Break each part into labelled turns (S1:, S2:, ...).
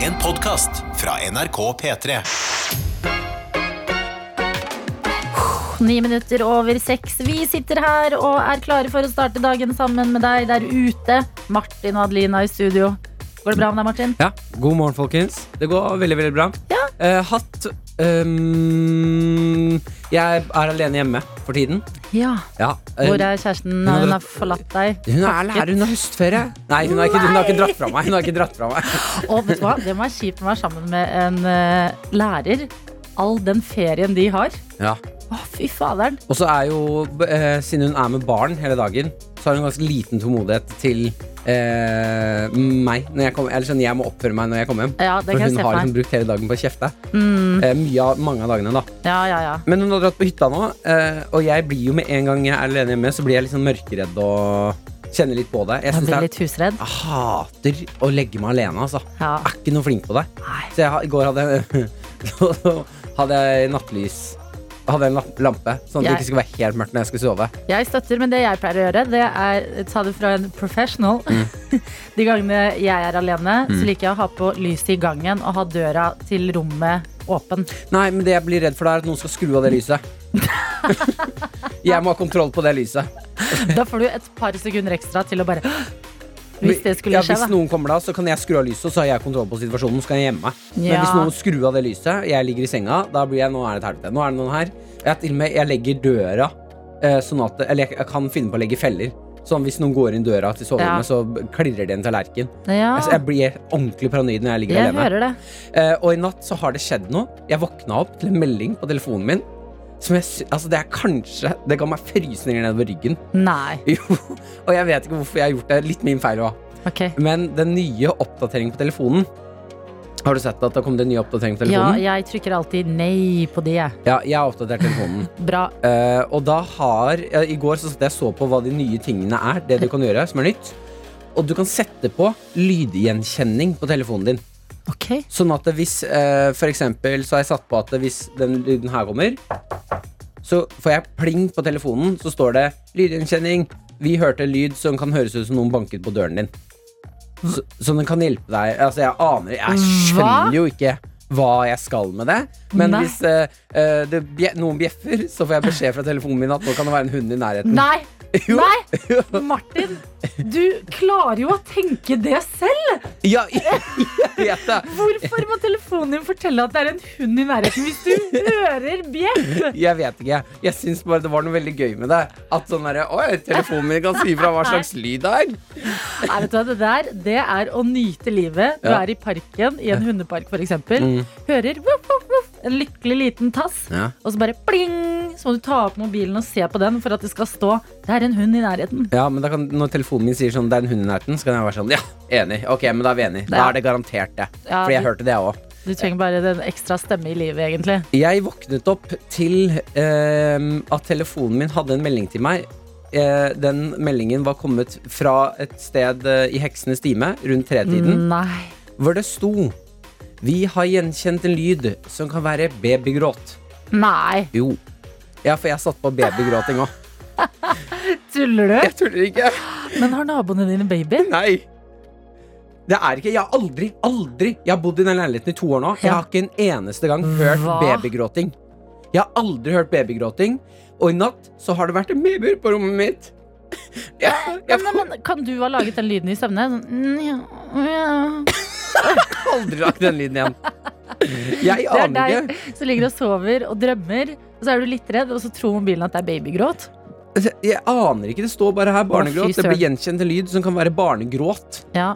S1: En podkast fra NRK P3.
S2: Ni minutter over seks. Vi sitter her og er klare for å starte dagen sammen med deg der ute. Martin og Adelina i studio. Går det bra med deg, Martin?
S3: Ja, God morgen, folkens. Det går veldig veldig bra.
S2: Ja.
S3: Eh, hatt ehm, Jeg er alene hjemme for tiden.
S2: Ja.
S3: Ja, eh,
S2: Hvor er kjæresten?
S3: har
S2: Hun har
S3: dratt-
S2: forlatt deg.
S3: hun er lærer, hun har høstferie. Nei, hun har ikke, hun har ikke dratt fra meg. Hun har ikke dratt fra meg
S2: Og vet du hva? Det må være kjipt å være sammen med en eh, lærer. All den ferien de har.
S3: ja.
S2: Å, fy faderen.
S3: Og så er jo, eh, siden hun er med barn hele dagen, så har hun ganske liten tålmodighet til eh, meg. Når jeg, kommer- eller sånn, jeg må oppføre meg når jeg kommer hjem.
S2: Ja, det
S3: For
S2: kan jeg
S3: hun
S2: se
S3: har
S2: for
S3: liksom
S2: meg.
S3: brukt hele dagen på å kjefte.
S2: Mm.
S3: Eh, mye av, mange av dagene, da.
S2: Ja, ja, ja.
S3: Men hun har dratt på hytta nå, eh, og jeg blir jo med en gang jeg er alene hjemme, så blir jeg litt sånn mørkeredd og kjenner litt på det. Jeg,
S2: Jeg
S3: synes det
S2: blir
S3: er,
S2: litt husredd.
S3: jeg hater å legge meg alene, altså.
S2: Ja.
S3: Jeg er ikke noe flink på det.
S2: Nei.
S3: Så jeg, ha- i går hadde jeg, så hadde jeg nattlys. Hadde jeg en la- lampe, sånn at det
S2: Jeg-
S3: ikke skulle være helt mørkt når jeg skulle sove.
S2: Jeg støtter, men det jeg pleier å gjøre, det er ta det fra en professional.
S3: Mm.
S2: De gangene jeg er alene, så liker jeg å ha på lyset i gangen og ha døra til rommet åpen.
S3: Nei, men det jeg blir redd for, det er at noen skal skru av det lyset. jeg må ha kontroll på det lyset.
S2: Da får du et par sekunder ekstra til å bare Hvis det skulle
S3: ja,
S2: skje,
S3: hvis
S2: da.
S3: noen kommer da, så kan jeg skru av lyset, og så har jeg kontroll på situasjonen. Så kan jeg gjemme meg. Men
S2: Ja.
S3: hvis noen skrur av det lyset, jeg ligger i senga, da blir jeg Nå er det et helvete. Nå er det noen her. Jeg, til og med, jeg legger døra eh, sånn at Eller jeg, jeg kan finne på å legge feller. Sånn hvis noen går inn døra til
S2: Ja.
S3: soverommet, så b- klirrer det en tallerken.
S2: Ja,
S3: Altså, jeg blir ordentlig paranoid når jeg ligger
S2: jeg
S3: alene.
S2: hører det.
S3: Eh, og i natt så har det skjedd noe. Jeg våkna opp til en melding på telefonen min. Som jeg, sy- altså det er kanskje Det ga meg frysninger nedover ryggen.
S2: Nei.
S3: Jo, og jeg vet ikke hvorfor jeg har gjort det. Litt min feil òg.
S2: Ok.
S3: Men den nye oppdateringen på telefonen Har du sett at det har kommet en ny oppdatering på
S2: Ja,
S3: telefonen? Ja,
S2: jeg trykker alltid nei på det. jeg.
S3: jeg har oppdatert telefonen.
S2: Bra.
S3: Eh, og da har ja, I går så satt jeg og så på hva de nye tingene er. Det du kan gjøre som er nytt. Og du kan sette på lydgjenkjenning på telefonen din.
S2: Ok.
S3: Sånn at hvis eh, for eksempel så har jeg satt på at hvis den lyden her kommer, så får jeg pling på telefonen, så står det 'lydgjenkjenning'. Vi hørte lyd som kan høres ut som noen banket på døren din. Så, så den kan hjelpe deg. Altså, jeg aner Jeg
S2: Hva?
S3: skjønner jo ikke hva jeg skal med det. Men
S2: Nei.
S3: hvis eh, eh, det bje, noen bjeffer, så får jeg beskjed fra telefonen min at nå kan det være en hund i nærheten.
S2: Nei!
S3: Mm. Jo.
S2: Nei! Martin, du klarer jo å tenke det selv!
S3: Ja, jeg vet det.
S2: Hvorfor må telefonen din fortelle at det er en hund i nærheten hvis du hører bjeff?
S3: Jeg vet ikke. Jeg syns bare det var noe veldig gøy med det. At sånn derre Oi, telefonen min kan si fra hva slags lyd det er.
S2: Nei, vet du hva, Det der det er å nyte livet. Du
S3: Ja. Mm.
S2: er i parken, i en hundepark f.eks. eksempel Hører voff, voff, voff, en lykkelig liten tass,
S3: Ja.
S2: og så bare pling! Så må du ta opp mobilen og se på den for at det skal stå 'det er en hund i nærheten'.
S3: Ja, men da kan, Når telefonen min sier sånn det er en hund i nærheten, så kan jeg være sånn Ja, enig. Ok, men da er vi enige. Da
S2: Ja.
S3: er det garantert det.
S2: Ja,
S3: Fordi jeg
S2: du-
S3: hørte det òg.
S2: Du trenger bare den ekstra stemme i livet, egentlig.
S3: Jeg våknet opp til ehm, at telefonen min hadde en melding til meg. Eh, den meldingen var kommet fra et sted eh, i Heksenes time, rundt
S2: Mm.
S3: tretiden.
S2: Nei.
S3: hvor det sto Vi har gjenkjent en lyd som kan være babygråt.
S2: Nei,
S3: Jo. Ja, for jeg satt på babygråting òg.
S2: tuller du?
S3: Jeg tuller ikke.
S2: Men har naboene dine baby?
S3: Nei. Det er ikke Jeg har aldri, aldri Jeg har bodd i den leiligheten i to år nå. Jeg
S2: Ja.
S3: har ikke en eneste gang hørt
S2: Hva?
S3: babygråting. Jeg har aldri hørt babygråting. Og i natt så har det vært en baby på rommet mitt. Jeg, jeg
S2: Men, men, kan du ha laget den lyden i søvne? Sånn, mm, ja, ja.
S3: får aldri lagt den lyden igjen. Jeg
S2: Det er
S3: aner ikke.
S2: deg som ligger og sover og drømmer, og så er du litt redd, og så tror mobilen at det er babygråt.
S3: Altså, Jeg aner ikke, det står bare her
S2: Å, fy
S3: barnegråt. Det blir
S2: søren.
S3: gjenkjent en lyd som kan være barnegråt.
S2: Ja,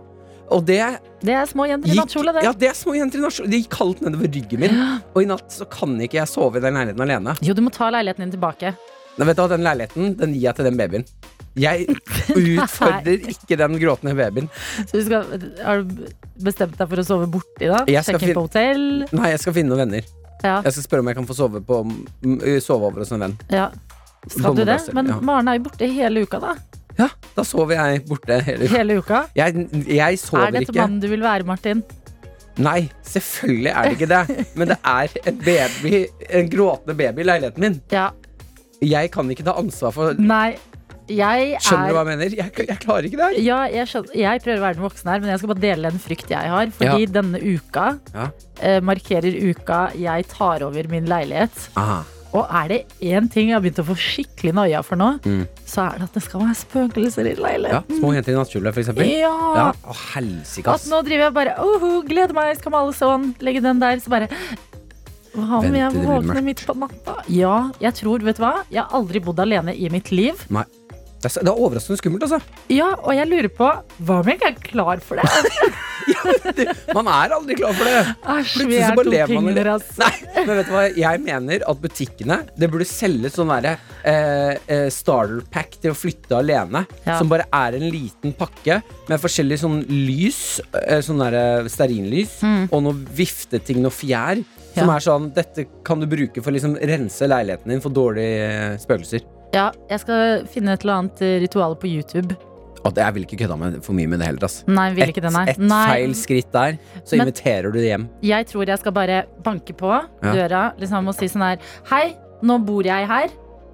S3: Og det
S2: Det er små jenter i
S3: gikk,
S2: nattkjole, det.
S3: ja, det er små jenter i nattkjole. Det gikk kaldt nedover ryggen min. Og i natt så kan ikke jeg sove i den leiligheten alene.
S2: Jo, du må ta leiligheten din tilbake.
S3: Nei, vet du hva, Den leiligheten den gir jeg til den babyen. Jeg utfordrer ikke den gråtende babyen.
S2: Så du skal, har du bestemt deg for å sove borti, da?
S3: Jeg skal
S2: Sjekke inn på hotell?
S3: Nei, jeg skal finne noen venner.
S2: Ja.
S3: Jeg skal spørre om jeg kan få sove, på, m- sove over hos en venn.
S2: ja.
S3: På
S2: Skal du det?
S3: Moldavsøy,
S2: Men
S3: ja.
S2: Maren er jo borte hele uka, da.
S3: ja, da sover jeg borte hele uka.
S2: Hele uka.
S3: Jeg, jeg
S2: Er
S3: sover
S2: dette
S3: ikke.
S2: mannen du vil være, Martin?
S3: Nei, selvfølgelig er det ikke det. Men det er en baby, en gråtende baby i leiligheten min.
S2: Ja.
S3: Jeg kan ikke ta ansvar for
S2: Nei. Jeg er
S3: Skjønner du hva jeg mener? Jeg, jeg klarer ikke det her.
S2: Ja, jeg, skjønner, jeg prøver å være den voksne her, men jeg skal bare dele en frykt jeg har. Fordi denne uka
S3: Ja.
S2: eh, markerer uka jeg tar over min leilighet. Og er det én ting jeg har begynt å få skikkelig noia for nå, så er det at det skal være spøkelser i
S3: Mm. Ja,
S2: leiligheten.
S3: Små jenter i nattkjole, for eksempel.
S2: Ja.
S3: Ja. Å, helsike,
S2: At
S3: ass.
S2: nå driver jeg bare «Oho, gleder meg, skal male sånn, legge den der. Så bare hva om
S3: Vent
S2: jeg
S3: til det blir
S2: våkner
S3: mørkt.
S2: midt på natta? Ja, jeg tror, vet du hva? Jeg har aldri bodd alene i mitt liv.
S3: Nei. Det er, så- det er overraskende skummelt, altså.
S2: Ja, og jeg lurer på Hva om jeg ikke er klar for det?
S3: Man er aldri klar for det.
S2: Æsj, vi
S3: Plutselig så
S2: er
S3: bare
S2: to
S3: lever man med
S2: pingler,
S3: det.
S2: ass.
S3: Nei, men vet du hva? Jeg mener at butikkene Det burde selge sånn derre eh, eh, starter pack til å flytte alene.
S2: Ja.
S3: Som bare er en liten pakke med forskjellig sånn lys, eh, sånn derre stearinlys, og noe vifteting, noe fjær. Som
S2: Mm. Ja.
S3: er sånn Dette kan du bruke for å liksom rense leiligheten din for dårlige eh, spøkelser.
S2: Ja, jeg skal finne et eller annet eh, ritual på YouTube.
S3: Og det, jeg vil ikke kødda med for mye med det heller, ass.
S2: Nei, vil ikke det, nei.
S3: Et, et
S2: nei.
S3: feil skritt der, så
S2: Men-
S3: inviterer du det hjem.
S2: Jeg tror jeg skal bare banke på
S3: Ja.
S2: døra liksom, og si sånn her Hei, nå bor jeg her.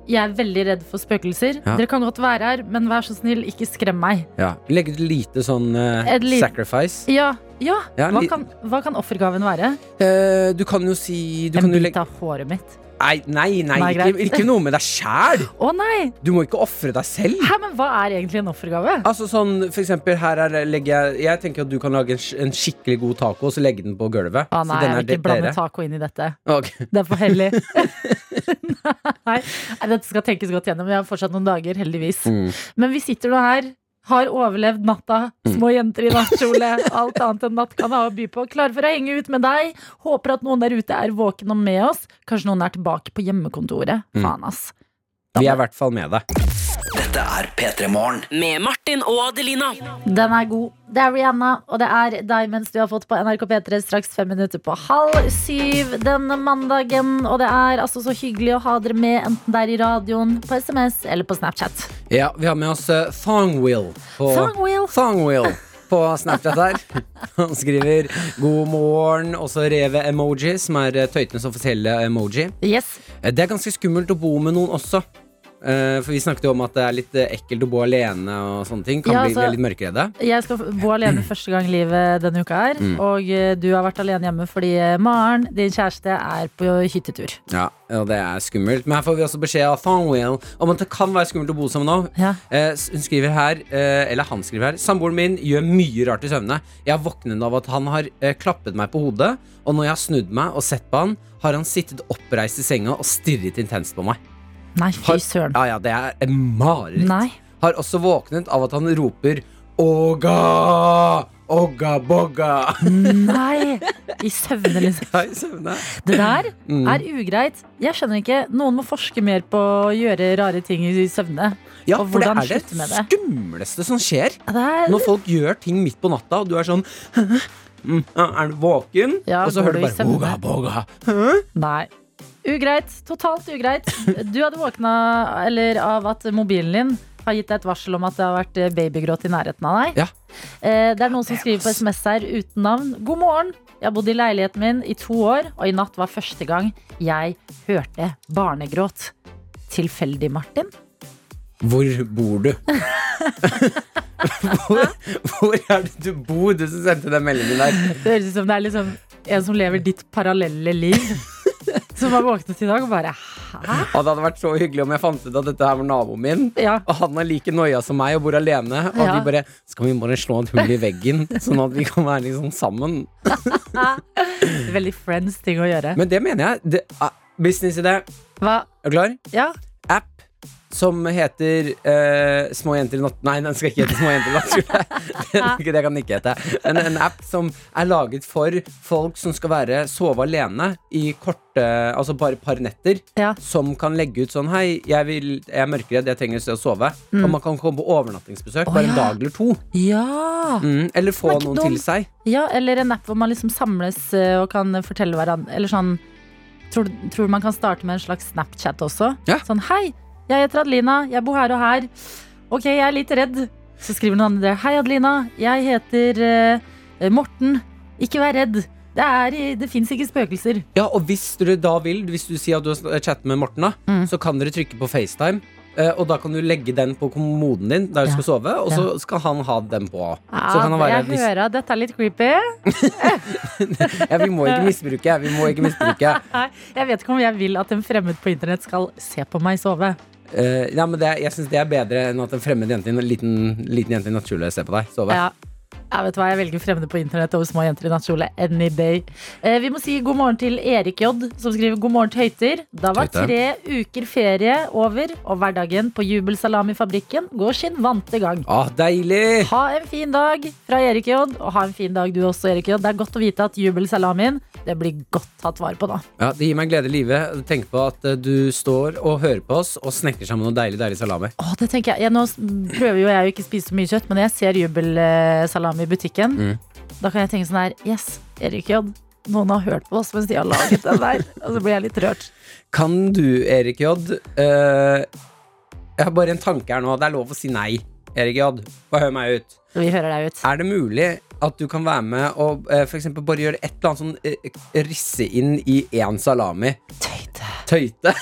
S2: Jeg er veldig redd for spøkelser.
S3: Ja.
S2: Dere kan godt være her, men vær så snill, ikke skrem meg.
S3: Ja. Legge ut lite sånn eh,
S2: Et lite-
S3: sacrifice.
S2: Ja, ja.
S3: Ja,
S2: Hva
S3: li-
S2: kan, hva kan offergaven være?
S3: Eh, du kan jo si du
S2: En
S3: kan jo
S2: bit
S3: legge,
S2: av håret mitt.
S3: Nei, nei, nei,
S2: Nei, greit.
S3: ikke, ikke noe med deg sjæl!
S2: Å nei!
S3: Du må ikke ofre deg selv.
S2: Hæ, men hva er egentlig en offergave?
S3: Altså sånn, for eksempel, her er, legger jeg Jeg tenker at du kan lage en, sk- en skikkelig god taco og så legge den på gulvet.
S2: Å
S3: så
S2: nei,
S3: den
S2: jeg vil
S3: de-
S2: ikke blande
S3: dere.
S2: taco inn i dette.
S3: Ok.
S2: Det er for hellig. Nei, Nei, dette skal tenkes godt gjennom. Jeg har fortsatt noen dager, heldigvis.
S3: Mm.
S2: Men vi sitter nå her, har overlevd natta, små jenter i nattkjole, alt annet enn natt kan ha å by på. Klare for å henge ut med deg. Håper at noen der ute er våken og med oss. Kanskje noen er tilbake på hjemmekontoret. Faen, ass.
S3: Vi er i hvert fall med deg.
S4: Dette er P3 Morgen.
S5: Med Martin og Adelina.
S2: Den er god. Det er Rihanna, og det er Diamonds du har fått på NRK P3 straks fem minutter på halv syv denne mandagen. Og det er altså så hyggelig å ha dere med, enten det er i radioen, på SMS eller på Snapchat.
S3: Ja, vi har med oss eh, Thongwill på
S2: Thongwill.
S3: Thongwill På Snapchat her. Han skriver 'god morgen', også revet-emoji, som er eh, tøytenes offisielle emoji.
S2: Yes.
S3: Eh, Det er ganske skummelt å bo med noen også. Eh, for vi snakket jo om at det er litt eh, ekkelt å bo alene og sånne ting. Kan
S2: Ja,
S3: bli,
S2: altså-
S3: bli litt mørkeredde.
S2: Jeg skal bo alene første gang i livet denne uka her.
S3: Mm.
S2: Og eh, du har vært alene hjemme fordi eh, Maren, din kjæreste, er på hyttetur.
S3: Ja, og det er skummelt. Men her får vi også beskjed av Thongwill om at det kan være skummelt å bo sammen nå.
S2: Ja.
S3: Eh, s- hun skriver her, eh, eller han skriver her, samboeren min gjør mye rart i søvne. Jeg har våknet av at han har eh, klappet meg på hodet, og når jeg har snudd meg og sett på han, har han sittet oppreist i senga og stirret intenst på meg.
S2: Nei,
S3: Har,
S2: fy søren.
S3: Ja, ja, det er en mareritt.
S2: Nei.
S3: har også våknet av at han roper Åga! Åga bogga!
S2: Mm. Nei! I søvne, liksom.
S3: Ja, i søvne.
S2: Det der
S3: Mm.
S2: er ugreit. Jeg skjønner ikke. Noen må forske mer på å gjøre rare ting i søvne.
S3: Ja,
S2: Og
S3: for det
S2: hvordan
S3: er
S2: slutte med
S3: det
S2: det?
S3: skumleste som skjer.
S2: Ja, Det er,
S3: Når folk gjør ting midt på natta, og du er sånn mm, Er du våken?
S2: Ja,
S3: og
S2: går
S3: så
S2: du
S3: hører du
S2: i
S3: bare
S2: søvne?
S3: Åga bogga.
S2: Nei. Ugreit. Totalt ugreit. Du hadde våkna eller, av at mobilen din har gitt deg et varsel om at det har vært eh, babygråt i nærheten av deg.
S3: Ja.
S2: Eh, Det er noen som skriver på SMS her uten navn. God morgen. Jeg har bodd i leiligheten min i to år, og i natt var første gang jeg hørte barnegråt. Tilfeldig, Martin?
S3: Hvor bor du? hvor, hvor er det du bor, du som sendte den meldingen der?
S2: Det høres ut som det er liksom en som lever ditt parallelle liv. Som har våknet i dag og bare Hæ?
S3: Og det hadde vært så hyggelig om jeg fant ut at dette her var naboen min.
S2: Ja.
S3: Og han er like noia som meg og bor alene. Og
S2: Ja.
S3: vi bare Skal vi bare slå et hull i veggen, sånn at vi kan være liksom sammen?
S2: Veldig friends ting å gjøre.
S3: Men det mener jeg. Det er businessidé.
S2: Hva?
S3: Er du klar?
S2: Ja.
S3: App som heter eh, Små jenter i natt... Nei, den skal ikke hete Små jenter i natt. det kan den ikke hete. En, en app som er laget for folk som skal være sove alene i korte Altså bare et par netter.
S2: ja.
S3: Som kan legge ut sånn Hei, jeg, vil, jeg er mørkeredd, jeg trenger et sted å sove. Og man kan komme på overnattingsbesøk bare en
S2: Mm. ja.
S3: dag eller to.
S2: Ja.
S3: Mm, eller få
S2: Den er ikke
S3: noen
S2: dum.
S3: til seg.
S2: ja, eller en app hvor man liksom samles eh, og kan fortelle hverandre Eller sånn Tror, du- tror du man kan starte med en slags Snapchat også?
S3: Ja.
S2: Sånn hei, jeg heter Adelina, jeg bor her og her. Ok, jeg er litt redd. Så skriver noen andre hei, Adelina, jeg heter eh, Morten. Ikke vær redd. Det, er, i- det fins ikke spøkelser. Mm.
S3: Ja, og hvis dere da vil, hvis du sier at du har sn- chattet med Morten, da, så kan dere trykke på FaceTime. Eh, og da kan du legge den på kommoden din der du
S2: Ja.
S3: skal sove, og så skal han ha den på. så kan han
S2: Ja,
S3: være
S2: jeg
S3: hvis-
S2: hører at dette er litt creepy.
S3: ja, Vi må ikke misbruke. Vi må ikke misbruke.
S2: Nei, Jeg vet ikke om jeg vil at en fremmed på internett skal se på meg sove.
S3: Eh, ja, men det, jeg syns det er bedre enn at en fremmed jente i en liten, liten jente i nattkjole ser på deg sove.
S2: Ja. Jeg vet hva, jeg velger fremmede på internett over små jenter i nattkjole any day. Eh, vi må si god morgen til Erik J, som skriver god morgen til Høyter. Da var
S3: Tøyte.
S2: tre uker ferie over, og hverdagen på Jubelsalamifabrikken går sin vante gang.
S3: Ah, deilig!
S2: Ha en fin dag fra Erik J, og ha en fin dag du også, Erik J. Det er godt å vite at jubelsalamien det blir godt tatt vare på, da.
S3: Ja, Det gir meg glede i livet. Tenk på at eh, du står og hører på oss og snekker sammen noe deilig deilig salami.
S2: Å, det tenker jeg. Ja, nå s- prøver jo jeg å ikke spise så mye kjøtt, men når jeg ser jubelsalami i butikken,
S3: Mm.
S2: da kan jeg tenke sånn her Yes, Erik J. Noen har hørt på oss mens de har laget den der. Og så blir jeg litt rørt.
S3: Kan du, Erik J eh, Jeg har bare en tanke her nå. Det er lov å si nei, Erik J. Bare hør meg ut.
S2: Vi hører deg ut.
S3: Er det mulig at du kan være med og eh, for eksempel bare gjøre et eller annet sånn eh, risse inn i én salami?
S2: Tøyte.
S3: Tøyte?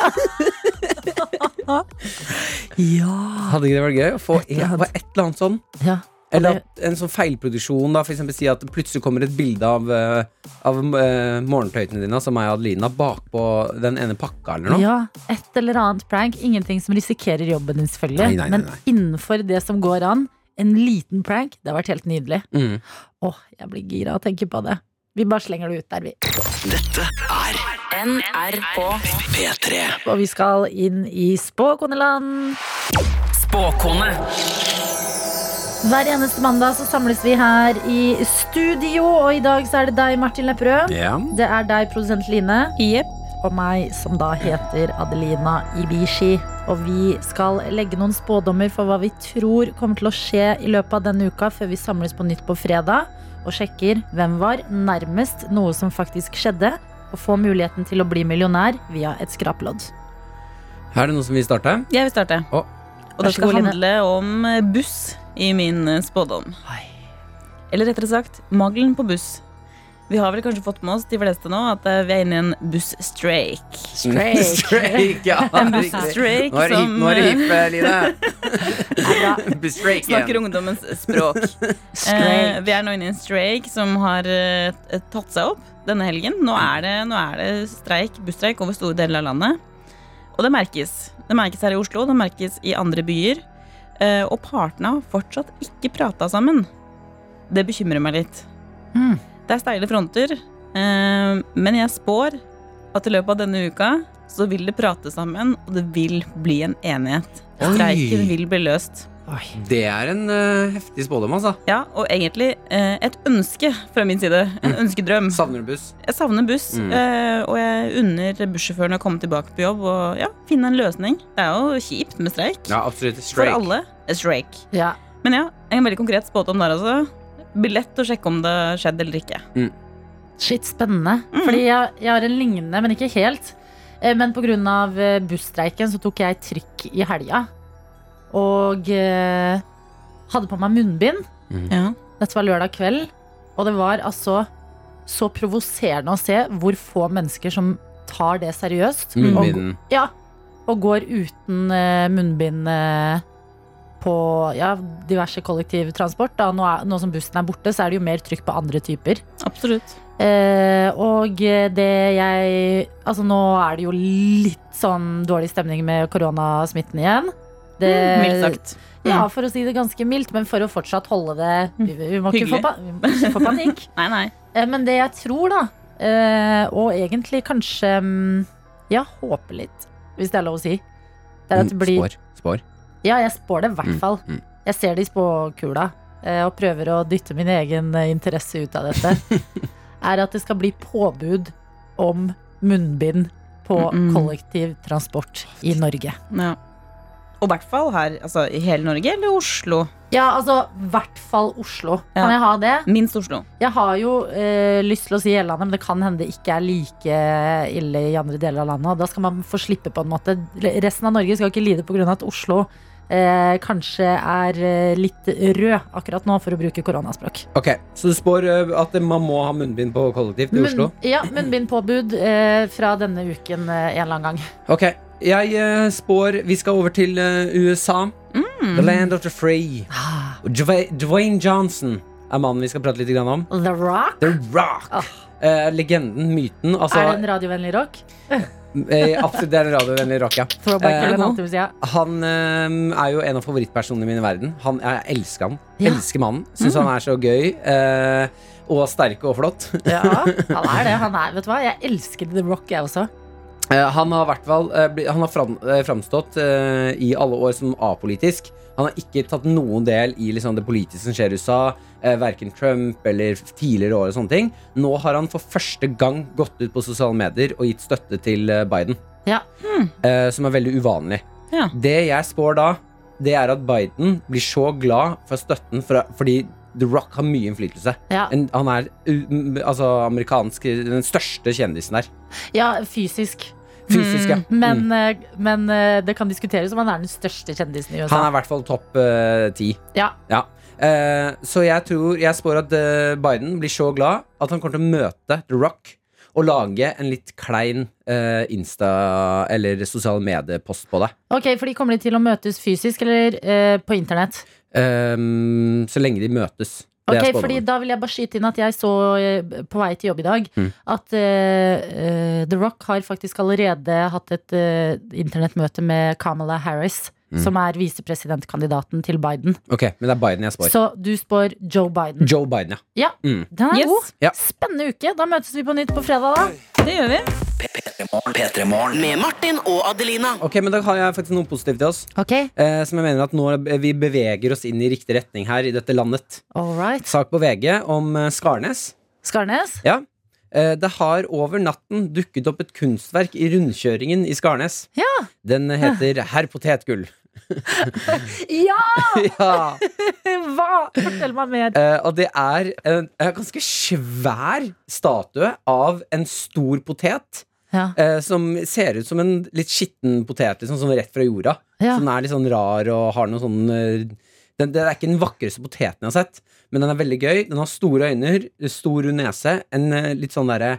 S2: Ja.
S3: Hadde ikke det vært gøy å få
S2: eller
S3: en,
S2: annet.
S3: bare et eller annet sånn?
S2: ja.
S3: Eller at en sånn feilproduksjon, da. For eksempel si at det plutselig kommer et bilde av, eh, av eh, morgentøytene dine, som meg og Adelina, bakpå den ene pakka eller noe.
S2: Ja, Et eller annet prank. Ingenting som risikerer jobben din, selvfølgelig.
S3: Nei, nei, nei, nei.
S2: Men innenfor det som går an, en liten prank, det har vært helt nydelig.
S3: Mm.
S2: Åh, jeg blir gira av å tenke på det. Vi bare slenger det ut der, vi.
S4: Dette er
S5: NRK
S4: P3.
S2: Og vi skal inn i spåkoneland.
S5: Spåkone.
S2: Hver eneste mandag så samles vi her i studio, og i dag så er det deg, Martin Lepperød.
S3: Ja.
S2: Det er deg, produsent Line. Og meg, som da heter Adelina Ibishi. Og vi skal legge noen spådommer for hva vi tror kommer til å skje i løpet av denne uka, før vi samles på nytt på fredag og sjekker hvem var nærmest noe som faktisk skjedde, og få muligheten til å bli millionær via et skraplodd.
S3: Er det noe som vil starte?
S6: Jeg vil starte.
S3: Å.
S6: Og
S2: Vær så
S6: det skal
S2: god, Line.
S6: handle om eh, buss i min eh, spådom. Eller rettere sagt, mangelen på buss. Vi har vel kanskje fått med oss de fleste nå at eh, vi er inne i en buss-streik.
S3: Strake, ja.
S6: Strake
S3: Nå er det hip,
S6: som,
S3: nå er det hip eh,
S2: Ja,
S3: Line. Strake
S6: Snakker
S3: igjen.
S6: ungdommens språk. Eh, vi er nå inne i en streik som har eh, tatt seg opp denne helgen. Nå er det, nå er det streik, busstreik over store deler av landet. Og det merkes. Det merkes her i Oslo, det merkes i andre byer. Eh, og partene har fortsatt ikke prata sammen. Det bekymrer meg litt.
S2: Mm.
S6: Det er steile fronter, eh, men jeg spår at i løpet av denne uka så vil det prate sammen, og det vil bli en enighet.
S3: Oi.
S6: Streiken vil bli løst.
S3: Det er en eh, heftig spådom, altså.
S6: Ja, og egentlig eh, et ønske fra min side. En ønskedrøm.
S3: Savner du buss?
S6: Jeg savner buss,
S3: Mm.
S6: eh, og jeg unner bussjåføren å komme tilbake på jobb og ja, finne en løsning. Det er jo kjipt med streik.
S3: Ja, absolutt.
S6: for
S3: Strake.
S6: alle. Eh, Streik.
S2: Ja.
S6: Men ja, en veldig konkret spådom der, altså. Blir lett å sjekke om det skjedde eller ikke.
S2: Shit, spennende. Fordi jeg, jeg har en lignende, men ikke helt. Eh, Men pga. busstreiken så tok jeg trykk i helga. Og eh, hadde på meg munnbind.
S6: Ja.
S2: Dette var lørdag kveld. Og det var altså så provoserende å se hvor få mennesker som tar det seriøst. Og,
S3: Munnbinden.
S2: ja, og går uten eh, munnbind eh, på ja, diverse kollektivtransport. Da, nå, er, nå som bussen er borte, så er det jo mer trykk på andre typer.
S6: Absolutt.
S2: Eh, og det jeg Altså, nå er det jo litt sånn dårlig stemning med koronasmitten igjen. Det,
S6: Mm, Mildt sagt. Mm.
S2: Ja, for å si det ganske mildt, men for å fortsatt holde det Vi, vi, må, ikke få,
S6: Hyggelig.
S2: pa- vi må ikke få panikk.
S6: Nei, nei.
S2: Eh, men det jeg tror, da, eh, og egentlig kanskje mm, Ja, håper litt, hvis det er lov å si, det er at det blir
S3: Mm, Spår. Spår.
S2: Ja, jeg spår det i hvert
S3: Mm,
S2: fall.
S3: mm.
S2: Jeg ser det i spåkula eh, og prøver å dytte min egen eh, interesse ut av dette. er at det skal bli påbud om munnbind på
S6: Mm, mm.
S2: kollektivtransport i Norge.
S6: Ja. Og i hvert fall her, altså i hele Norge eller Oslo?
S2: Ja, altså i hvert fall Oslo.
S6: Ja.
S2: Kan jeg ha det?
S6: Minst Oslo.
S2: Jeg har jo eh, lyst til å si hele landet, men det kan hende det ikke er like ille i andre deler av landet. Og da skal man få slippe, på en måte. Resten av Norge skal ikke lide pga. at Oslo eh, kanskje er eh, litt rød akkurat nå, for å bruke koronaspråk.
S3: Ok, Så du spår eh, at man må ha munnbind på kollektivt i Oslo?
S2: Munn- ja, munnbindpåbud eh, fra denne uken eh, en eller annen gang.
S3: Ok, Jeg eh, spår vi skal over til eh, USA.
S2: Mm.
S3: The land of the free. Og Dwa- Dwayne Johnson er mannen vi skal prate litt grann om.
S2: The Rock?
S3: The Rock. Eh, legenden, myten. Altså,
S2: Ah. Er det en radiovennlig rock?
S3: eh, absolutt, det er en radiovennlig rock, ja.
S2: Throwback
S3: Eh,
S2: eller
S6: nå.
S2: noe annet, vil si, ja.
S3: Han eh, er jo en av favorittpersonene mine i verden. Han, jeg elsker han.
S2: Ja.
S3: Elsker mannen. Syns han er så gøy. eh, og sterk og flott.
S2: Ja, han er det. Han er, vet du hva? Jeg elsker The Rock, jeg også.
S3: Eh, Han har, hvert fall, eh, bli- han har fram, eh, framstått eh, i alle år som apolitisk. Han har ikke tatt noen del i liksom, det politiske som skjer i USA, eh, verken Trump eller tidligere år. og sånne ting. Nå har han for første gang gått ut på sosiale medier og gitt støtte til eh, Biden.
S2: Ja. Hmm.
S3: Eh, som er veldig uvanlig.
S6: Ja.
S3: Det jeg spår da, det er at Biden blir så glad for støtten fra, fordi The Rock har mye innflytelse.
S2: Ja,
S3: En, han er uh, altså, amerikansk, den største kjendisen der.
S2: ja fysisk.
S3: Fysisk, ja. Mm.
S2: Men, eh, men eh, det kan diskuteres om han er den største kjendisen i
S3: Han
S2: USA.
S3: er i hvert fall topp eh, ti.
S2: Ja.
S3: Ja. Eh, så jeg tror Jeg spår at eh, Biden blir så glad at han kommer til å møte The Rock og lage en litt klein eh, Insta- eller sosiale mediepost på det.
S2: Ok, for de kommer de til å møtes fysisk eller eh, på internett?
S3: Ehm, så lenge de møtes. Det
S2: Ok,
S3: er spådommen.
S2: fordi Da vil jeg bare skyte inn at jeg så eh, på vei til jobb i dag
S3: Mm.
S2: at eh, eh, The Rock har faktisk allerede hatt et eh, internettmøte med Kamala Harris,
S3: Mm.
S2: som er visepresidentkandidaten til Biden.
S3: Ok, Men det er Biden jeg spår.
S2: Så du spår Joe Biden.
S3: Joe Biden, ja.
S2: Ja,
S3: Mm.
S2: den er
S6: Yes.
S2: god.
S3: Ja.
S2: Spennende uke. Da møtes vi på nytt på fredag, da.
S6: Det gjør vi.
S4: Med Martin og Adelina.
S3: Ok, men Da har jeg faktisk noe positivt til oss.
S2: Ok,
S3: eh, som jeg mener at nå eh, Vi beveger oss inn i riktig retning her i dette landet.
S2: all right.
S3: Sak på VG om eh, Skarnes.
S2: Skarnes?
S3: Ja. Eh, Det har over natten dukket opp et kunstverk i rundkjøringen i Skarnes.
S2: Ja!
S3: Den heter Herr Potetgull.
S2: Ja!
S3: ja.
S2: Hva? Fortell meg mer.
S3: Eh, og det er en, en ganske svær statue av en stor potet.
S2: Ja.
S3: eh, som ser ut som en litt skitten potet, liksom, sånn rett fra jorda.
S2: Ja.
S3: Som er litt sånn rar og har noe sånn eh, den, Det er ikke den vakreste poteten jeg har sett, men den er veldig gøy. Den har store øyne, stor rund nese, en eh, litt sånn derre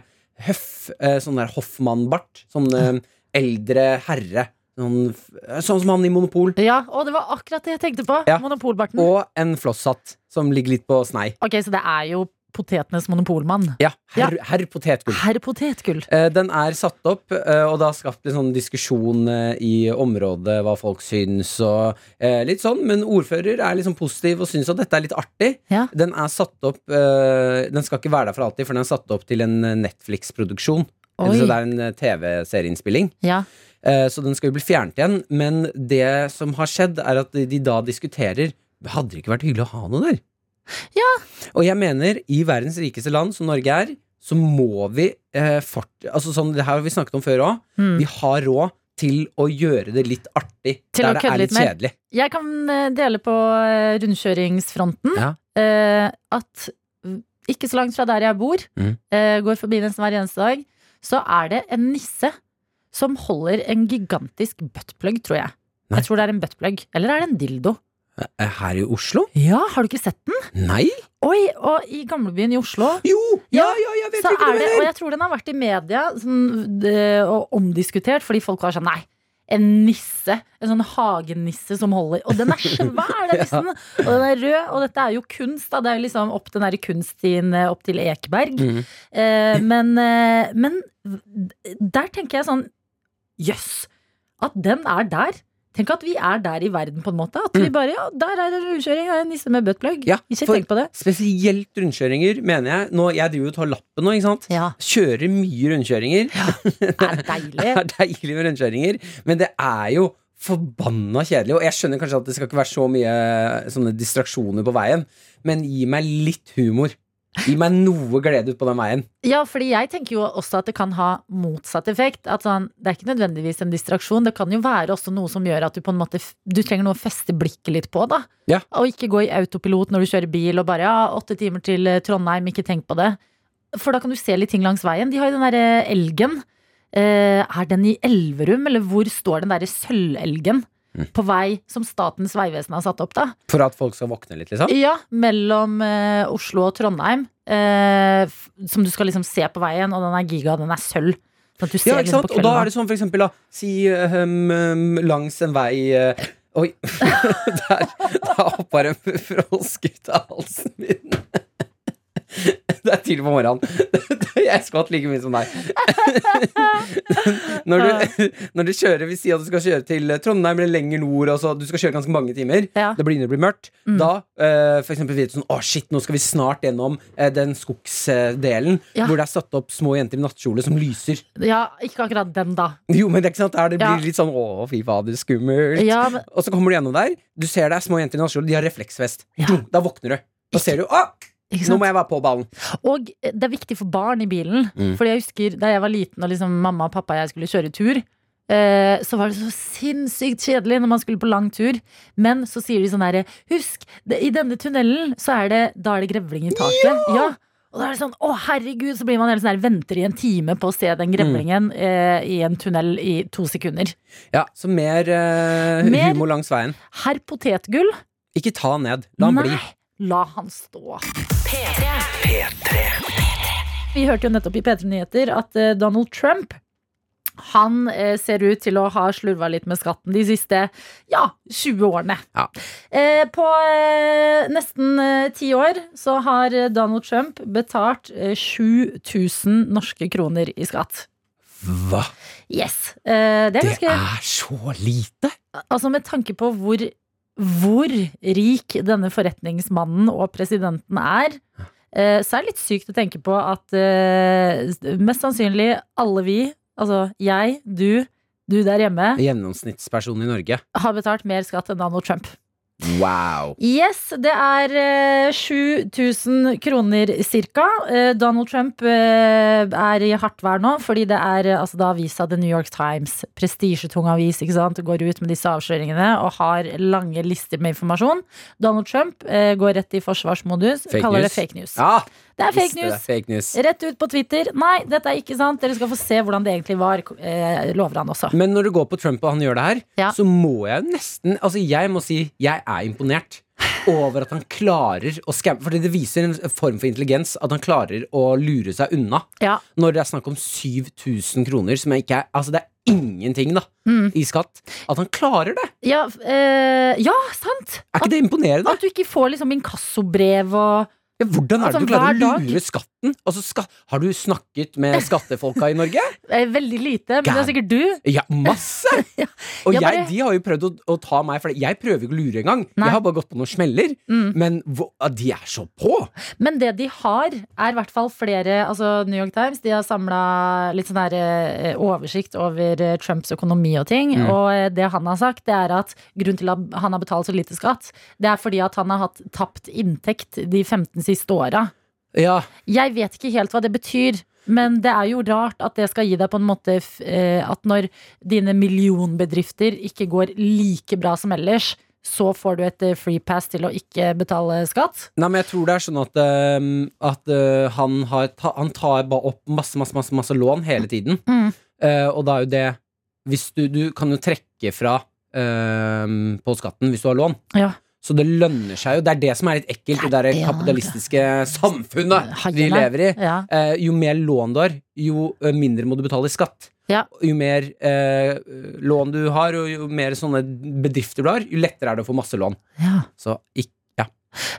S3: høff, eh, sånn der hoffmannbart. Sånn eh, eldre herre. Sånn, f- sånn som han i Monopol.
S2: ja, og det var akkurat det jeg tenkte på.
S3: Ja.
S2: Monopolbarten.
S3: Og en flosshatt som ligger litt på snei.
S2: Ok, så det er jo potetenes monopolmann.
S3: Ja, herr herr potetgull.
S2: Herr Potetgull.
S3: Eh, Den er satt opp, eh, og det har skapt litt sånn diskusjon eh, i området, hva folk syns og eh, litt sånn, men ordfører er liksom positiv og syns at dette er litt artig.
S2: Ja.
S3: Den er satt opp eh, Den skal ikke være der for alltid, for den er satt opp til en eh, Netflix-produksjon.
S2: Oi.
S3: Eller Så det er en eh, TV-serieinnspilling.
S2: Ja.
S3: Eh, Så den skal jo bli fjernet igjen, men det som har skjedd, er at de- de da diskuterer Hadde det ikke vært hyggelig å ha noe der? Og jeg mener, i verdens rikeste land, som Norge er, så må vi eh, fort... Altså sånn, det her har vi snakket om før òg.
S2: Mm.
S3: Vi har råd til å gjøre det litt artig
S2: Til å
S3: der det
S2: kødde
S3: er
S2: litt
S3: litt
S2: mer.
S3: kjedelig.
S2: Jeg kan eh, dele på eh, rundkjøringsfronten
S3: Ja.
S2: eh, at mm, ikke så langt fra der jeg bor,
S3: Mm.
S2: eh, går forbi nesten hver eneste dag, så er det en nisse som holder en gigantisk buttplug, tror jeg.
S3: Nei.
S2: Jeg tror det er en buttplug. Eller er det en dildo?
S3: Eh, Her i Oslo?
S2: Ja, har du ikke sett den?
S3: Nei?
S2: Oi, og i gamlebyen i Oslo
S3: Jo! Ja,
S2: Ja,
S3: ja, jeg vet
S2: så er
S3: ikke hva du
S2: det, og
S3: mener!
S2: jeg tror den har vært i media sånn, det- og omdiskutert, fordi folk var sånn nei. En nisse, en sånn hagenisse som holder. Og den er svær, den nissen! Og den er rød, og dette er jo kunst. Da. Det er jo liksom opp den derre kunststien eh, opp til Ekeberg.
S3: Mhm.
S2: Eh, men, eh, men d- der tenker jeg sånn Jøss! At den er der! Tenk at vi er der i verden, på en måte. At vi bare Ja, der er det rundkjøring, der er en nisse med buttplug.
S3: Mm. Ja,
S2: Ikke
S3: for-
S2: tenk på det.
S3: Spesielt rundkjøringer, mener jeg. Nå, jeg driver jo og tar lappen nå, ikke sant?
S2: Ja,
S3: Kjører mye rundkjøringer.
S2: det er deilig.
S3: Det er deilig med rundkjøringer, men det er jo forbanna kjedelig. Og jeg skjønner kanskje at det skal ikke være så mye eh, sånne distraksjoner på veien, men gi meg litt humor. Gi meg noe glede ut på den veien.
S2: Ja, fordi jeg tenker jo også at det kan ha motsatt effekt. At sånn, det er ikke nødvendigvis en distraksjon. Det kan jo være også noe som gjør at du på en måte f- Du trenger noe å feste blikket litt på, da.
S3: Ja.
S2: Og ikke gå i autopilot når du kjører bil og bare ja, åtte timer til eh, Trondheim, ikke tenk på det. For da kan du se litt ting langs veien. De har jo den derre elgen. Eh, er den i Elverum, eller hvor står den derre sølvelgen? På vei som Statens vegvesen har satt opp, da.
S3: For at folk skal våkne litt, liksom.
S2: Ja, mellom eh, Oslo og Trondheim. Eh, f- som du skal liksom se på veien, og den er giga, den er sølv. Sånn at du ser
S3: Ja, ikke
S2: liksom
S3: sant?
S2: på
S3: Og da er
S2: kvelden.
S3: det sånn for eksempel da, Si ehm, ehm, langs en vei eh, Oi, der, der hoppa det en frosk ut av halsen min. Det er tidlig på morgenen. Jeg skvatt like mye som deg. Når du, når du kjører Vi sier at du skal kjøre til Trondheim eller lenger nord. Altså, du skal kjøre ganske mange timer.
S2: Ja. Mm.
S3: Det begynner å bli mørkt. Da eh, for eksempel vet du sånn Å, shit, nå skal vi snart gjennom eh, den skogsdelen
S2: Ja.
S3: hvor det er satt opp små jenter i nattkjole som lyser.
S2: Ja, ikke akkurat den, da.
S3: Jo, men det er ikke sant, der det
S2: Ja.
S3: blir litt sånn Å, fy fader, skummelt.
S2: Ja, men,
S3: Og så kommer du gjennom der, du ser det er små jenter i nattkjole, de har refleksvest.
S2: Ja.
S3: Dum, Da våkner du. Da ser du Å,
S2: ikke
S3: nå
S2: sant?
S3: må jeg være på ballen.
S2: Og det er viktig for barn i bilen. Fordi jeg husker da jeg var liten og liksom mamma og pappa og jeg skulle kjøre tur, eh, så var det så sinnssykt kjedelig når man skulle på lang tur. Men så sier de sånn herre Husk, det, i denne tunnelen så er det Da er det grevling i taket. Ja! Og da er det sånn, å herregud, så blir man helt sånn her, venter i en time på å se den grevlingen eh, i en tunnel i to sekunder.
S3: Ja, Så mer, eh,
S2: Mer-
S3: humor langs veien.
S2: Herr Potetgull,
S3: Ikke ta han ned. La han
S2: nei,
S3: bli.
S2: la han stå. Vi hørte jo nettopp i P3 Nyheter at eh, Donald Trump han eh, ser ut til å ha slurva litt med skatten de siste ja, 20 årene.
S3: Ja.
S2: Eh, på eh, nesten eh, ti år så har eh, Donald Trump betalt eh, 7000 norske kroner i skatt.
S3: Hva?
S2: Yes. Eh, det er
S3: Det
S2: ganske
S3: er så lite!
S2: Altså med tanke på hvor, hvor rik denne forretningsmannen og presidenten er, eh, så er det litt sykt å tenke på at eh, mest sannsynlig alle vi, altså jeg, du, du der hjemme,
S3: Gjennomsnittspersonen i Norge.
S2: har betalt mer skatt enn Donald Trump.
S3: Wow.
S2: Yes, det er eh, 7000 kroner cirka. Eh, Donald Trump eh, er i hardt vær nå, fordi det er eh, altså, da avisa The New York Times, prestisjetung avis, ikke sant, går ut med disse avsløringene og har lange lister med informasjon. Donald Trump eh, går rett i forsvarsmodus,
S3: Fake
S2: kaller
S3: news.
S2: det fake news.
S3: Ja,
S2: det er
S3: visste
S2: fake news.
S3: det, fake news.
S2: Rett ut på Twitter. Nei, dette er ikke sant. Dere skal få se hvordan det egentlig var, eh, lover han også.
S3: Men når du går på Trump og han gjør det her,
S2: Ja.
S3: så må jeg nesten Altså, jeg må si jeg er imponert over at han klarer å skamme Fordi det viser en form for intelligens at han klarer å lure seg unna.
S2: Ja.
S3: Når det er snakk om 7000 kroner, som jeg ikke er Altså, det er ingenting, da,
S2: Mm.
S3: i skatt. At han klarer det!
S2: Ja, f- eh, ja, sant!
S3: Er ikke det imponerende?
S2: At du ikke får liksom inkassobrev og
S3: Ja, hvordan er det
S2: altså,
S3: du klarer å
S2: hver dag-
S3: lure skatten? Altså, ska har du snakket med skattefolka i Norge?
S2: Eh, Veldig lite, men det er
S3: Gæren.
S2: sikkert du.
S3: Ja, masse! Og
S2: Ja,
S3: jeg,
S2: bare-
S3: de har jo prøvd å, å ta meg, for jeg prøver jo ikke å lure engang.
S2: Nei.
S3: Jeg har bare gått på noen smeller.
S2: Mm.
S3: Men hvor, ah, de er så på!
S2: Men det de har, er i hvert fall flere altså New York Times de har samla litt sånn her eh, oversikt over eh, Trumps økonomi og ting.
S3: Mm.
S2: Og eh, det han har sagt, det er at grunnen til at han har betalt så lite skatt, det er fordi at han har hatt tapt inntekt de 15 siste åra.
S3: Ja,
S2: Jeg vet ikke helt hva det betyr. Men det er jo rart at det skal gi deg på en måte f- eh, at når dine millionbedrifter ikke går like bra som ellers, så får du et eh, free pass til å ikke betale skatt.
S3: Nei, men jeg tror det er sånn at, ehm, at eh, han, har ta, han tar bare opp masse, masse, masse, masse lån hele tiden.
S2: Mm.
S3: Eh, og da er jo det hvis du, du kan jo trekke fra ehm, på skatten hvis du har lån.
S2: Ja.
S3: Så det lønner seg jo. Det er det som er litt ekkelt i det der
S2: det er det.
S3: kapitalistiske samfunnet vi
S2: Haiene.
S3: lever i.
S2: Ja.
S3: Eh, jo mer lån du har, jo eh, mindre må du betale i skatt.
S2: Ja.
S3: Jo mer eh, lån du har, og jo mer sånne bedrifter du har, jo lettere er det å få masse lån.
S2: Ja.
S3: Så ikke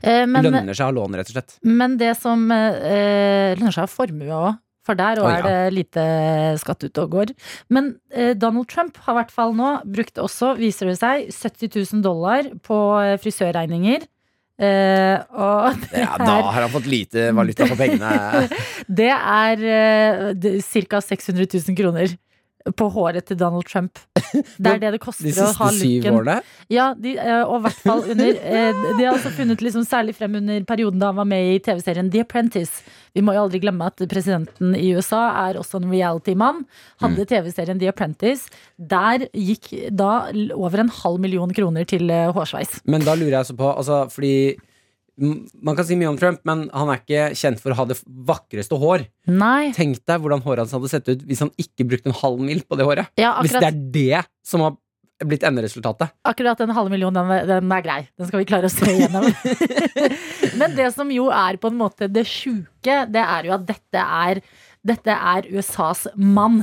S2: Eh, men,
S3: lønner seg å ha lån, rett og slett.
S2: men det som eh, lønner seg, er formue òg. For der òg
S3: Å, ja.
S2: er det lite skatt ute og går. Men eh, Donald Trump har i hvert fall nå brukt også, viser det seg, 70 000 dollar på eh, frisørregninger. Eh, og det
S7: Ja, da
S2: er,
S7: har han fått lite valuta for pengene.
S2: det er eh, det- cirka 600 000 kroner på håret til Donald Trump. Det er det det koster
S3: De
S2: å ha
S3: siste syv
S2: looken.
S3: årene.
S2: Ja, de, eh, og i hvert fall under eh, De har altså funnet liksom særlig frem under perioden da han var med i TV-serien The Apprentice. Vi må jo aldri glemme at presidenten i USA er også en reality-mann.
S3: Mm.
S2: Hadde TV-serien The Apprentice. Der gikk da l- over en halv million kroner til eh, hårsveis.
S3: Men da lurer jeg så på, altså, fordi m- man kan si mye om Trump, men han er ikke kjent for å ha det vakreste hår.
S2: Nei.
S3: Tenk deg hvordan håret hans hadde sett ut hvis han ikke brukte en halv mil på det håret.
S2: Ja,
S3: Hvis det
S2: akkurat,
S3: er det som har blitt enderesultatet.
S2: akkurat den halve millionen, den, den er grei. Den skal vi klare å se igjennom. Men det som jo er på en måte det sjuke, det er jo at dette er, dette er USAs mann.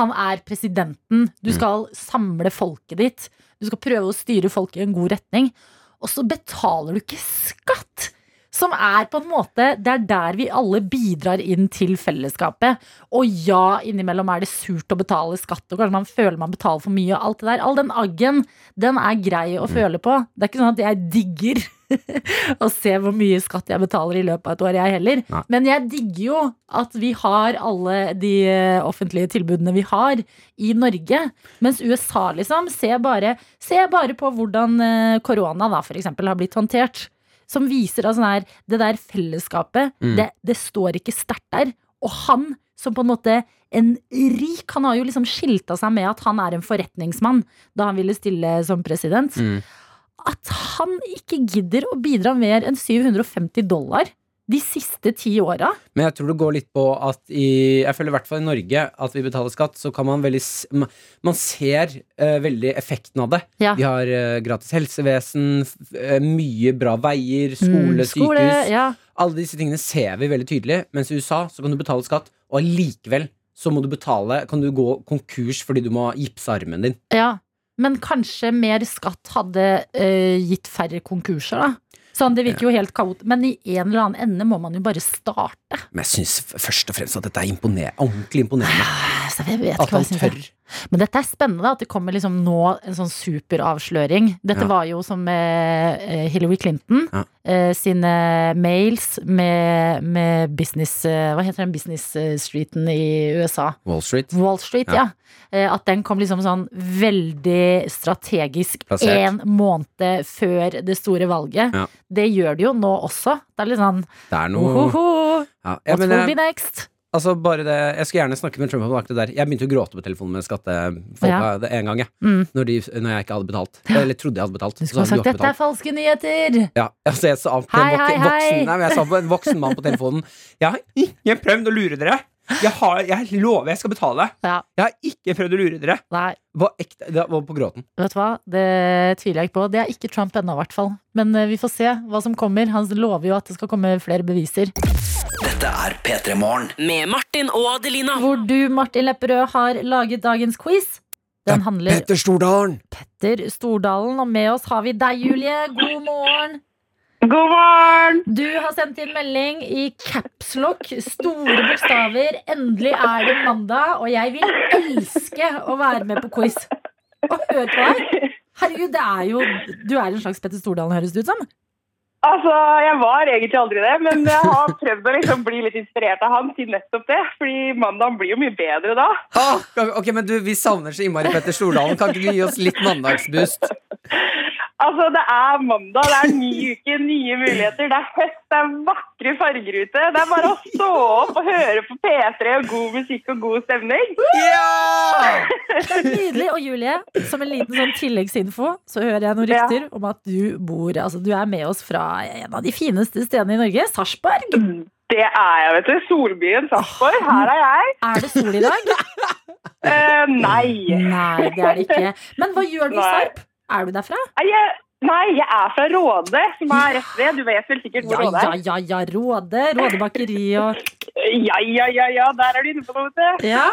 S2: Han er presidenten. Du skal samle folket ditt. Du skal prøve å styre folk i en god retning. Og så betaler du ikke skatt! Som er på en måte Det er der vi alle bidrar inn til fellesskapet. Og ja, innimellom er det surt å betale skatt, og kanskje man føler man betaler for mye. og alt det der. All den aggen, den er grei å føle på. Det er ikke sånn at jeg digger å se hvor mye skatt jeg betaler i løpet av et år, jeg heller.
S3: Nei.
S2: Men jeg digger jo at vi har alle de eh, offentlige tilbudene vi har i Norge. Mens USA, liksom, se bare, se bare på hvordan eh, korona da, for eksempel, har blitt håndtert. Som viser at sånn her, det der fellesskapet,
S3: Mm.
S2: det, det står ikke sterkt der. Og han som på en måte en rik, han har jo liksom skilta seg med at han er en forretningsmann da han ville stille som president
S3: Mm.
S2: at han ikke gidder å bidra mer enn 750 dollar de siste ti åra.
S3: Men jeg tror det går litt på at i Jeg føler i hvert fall i Norge at vi betaler skatt, så kan man veldig s- ma- Man ser eh, veldig effekten av det.
S2: Ja.
S3: Vi har eh, gratis helsevesen, f eh, mye bra veier, skole,
S2: Mm,
S3: sykehus.
S2: ja.
S3: Alle disse tingene ser vi veldig tydelig, mens i USA så kan du betale skatt, og allikevel så må du betale Kan du gå konkurs fordi du må gipse armen din.
S2: ja. Men kanskje mer skatt hadde eh, gitt færre konkurser, da. Sånn, det virker jo helt kaot. Men i en eller annen ende må man jo bare starte.
S3: Men jeg syns først og fremst at dette er impone- ordentlig
S2: Ah.
S3: imponerende.
S2: Så jeg vet
S3: At
S2: ikke hva
S3: han
S2: jeg synes
S3: tør.
S2: er. Men dette er spennende, da, at det kommer liksom nå en sånn superavsløring. Dette
S3: Ja.
S2: var jo som med eh, Hillary Clinton
S3: Ja.
S2: eh, sine mails med, med business eh, Hva heter den business eh, streeten i USA?
S3: Wall Street.
S2: Wall Street, ja.
S3: Ja.
S2: Eh, At den kom liksom sånn veldig strategisk
S3: Plassert.
S2: en måned før det store valget.
S3: Ja.
S2: Det gjør det jo nå også. Det er litt sånn
S3: Det er noe
S2: ohoho,
S3: ja. Ja,
S2: what
S3: men,
S2: will
S3: eh,
S2: be next?
S3: Altså bare det, Jeg skulle gjerne snakke med Trump om akkurat det der. Jeg begynte å gråte på telefonen med skattefolka
S2: Ja.
S3: det en gang. Jeg.
S2: Mm.
S3: Når, de, når jeg ikke hadde betalt. Eller trodde jeg hadde betalt.
S2: Du skulle ha
S3: Så sa de,
S2: sagt 'dette er falske nyheter'!
S3: ja, altså jeg sa til en
S2: Hei,
S3: vok-
S2: hei, hei.
S3: voksen, nei, men jeg sa på en voksen mann på telefonen Jeg har ikke prøvd å lure dere! Jeg, har, jeg lover jeg skal betale!
S2: Ja,
S3: Jeg har ikke prøvd å lure dere!
S2: nei,
S3: Var ekte, det var på gråten.
S2: vet du hva? Det tviler jeg ikke på. Det er ikke Trump ennå, i hvert fall. Men eh, vi får se hva som kommer. Han lover jo at det skal komme flere beviser.
S4: Dette er P3 Morgen.
S5: Med Martin og Adelina.
S2: Hvor du, Martin Lepperød, har laget dagens quiz. Den handler
S7: Petter Stordalen!
S2: Petter Stordalen, og med oss har vi deg, Julie. God morgen.
S8: God morgen!
S2: Du har sendt inn melding i capslock, store bokstaver. Endelig er det mandag, og jeg vil elske å være med på quiz. Og hør på deg. Herregud, det er jo Du er en slags Petter Stordalen, høres det ut som.
S8: Altså, jeg var egentlig aldri det, men jeg har prøvd å liksom bli litt inspirert av han til nettopp det. Fordi mandagen blir jo mye bedre da.
S3: Ah, ok, men du, Vi savner så innmari Petter Stordalen. Kan ikke du gi oss litt mandagsboost?
S8: Altså, det er mandag, det er ny uke, nye muligheter. Det er høst, det er vakre farger ute. Det er bare å stå opp og høre på P3 og god musikk og god stemning.
S3: Ja!
S2: Nydelig. Og Julie, som en liten sånn tilleggsinfo, så hører jeg noen
S8: Ja.
S2: rykter om at du bor Altså, du er med oss fra en av de fineste stedene i Norge, Sarpsborg.
S8: Det er jeg, vet du. Solbyen Sarpsborg. Her er jeg.
S2: Er det sol i dag?
S8: Eh, nei.
S2: Nei, det er det ikke. Men hva gjør du i
S8: Nei.
S2: Sarp? Er du derfra?
S8: Nei, Jeg, nei, jeg er fra Råde, som er rett ved. Du vet vel sikkert hvor
S2: Ja,
S8: Råde er?
S2: ja, ja, ja. Råde. Råde bakeri og
S8: Ja, ja, ja, ja, der er du inne på noe, vet du.
S2: Ja.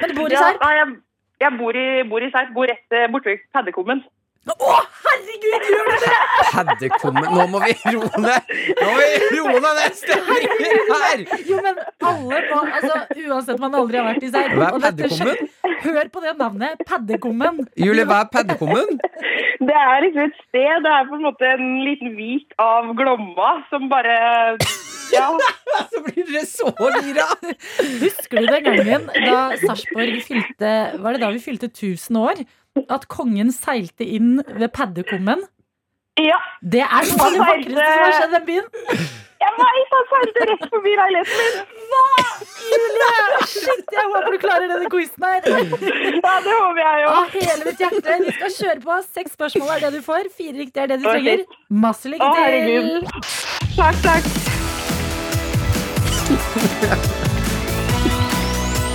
S2: Men du bor i
S8: Ja,
S2: Sarp?
S8: nei, jeg, jeg bor i, bor i Serp, bor rett eh, borte ved Paddekummen.
S2: Å, herregud, gjør du det?!
S3: Paddekummen Nå må vi roe ned! Nå må vi roe ned! Det stemmer ikke her!
S2: Jo, men alle må Altså, uansett man aldri har vært i Sarp.
S3: Hva er
S2: og dette skjer-
S3: Paddekummen?
S2: Hør på det navnet. Paddekummen.
S3: Julie, hva er paddekummen?
S8: Det er liksom et sted, det er på en måte en liten vik av Glomma som bare Ja.
S3: Så blir dere så gira!
S2: Husker du den gangen da Sarpsborg fylte Var det da vi fylte 1000 år? At kongen seilte inn ved Paddekummen?
S8: ja
S2: Det er noe av det vakreste som har skjedd i den byen.
S8: jeg veit han seilte rett forbi leiligheten min!
S2: Julie! Shit, jeg håper du klarer denne quizen her.
S8: Ja, det håper jeg jo.
S2: Av hele mitt hjerte. Vi skal kjøre på. Seks spørsmål er det du får. Fire riktige er det du
S8: Ok.
S2: trenger. Masse lykke
S8: Å,
S2: til.
S8: herregud. Takk, takk.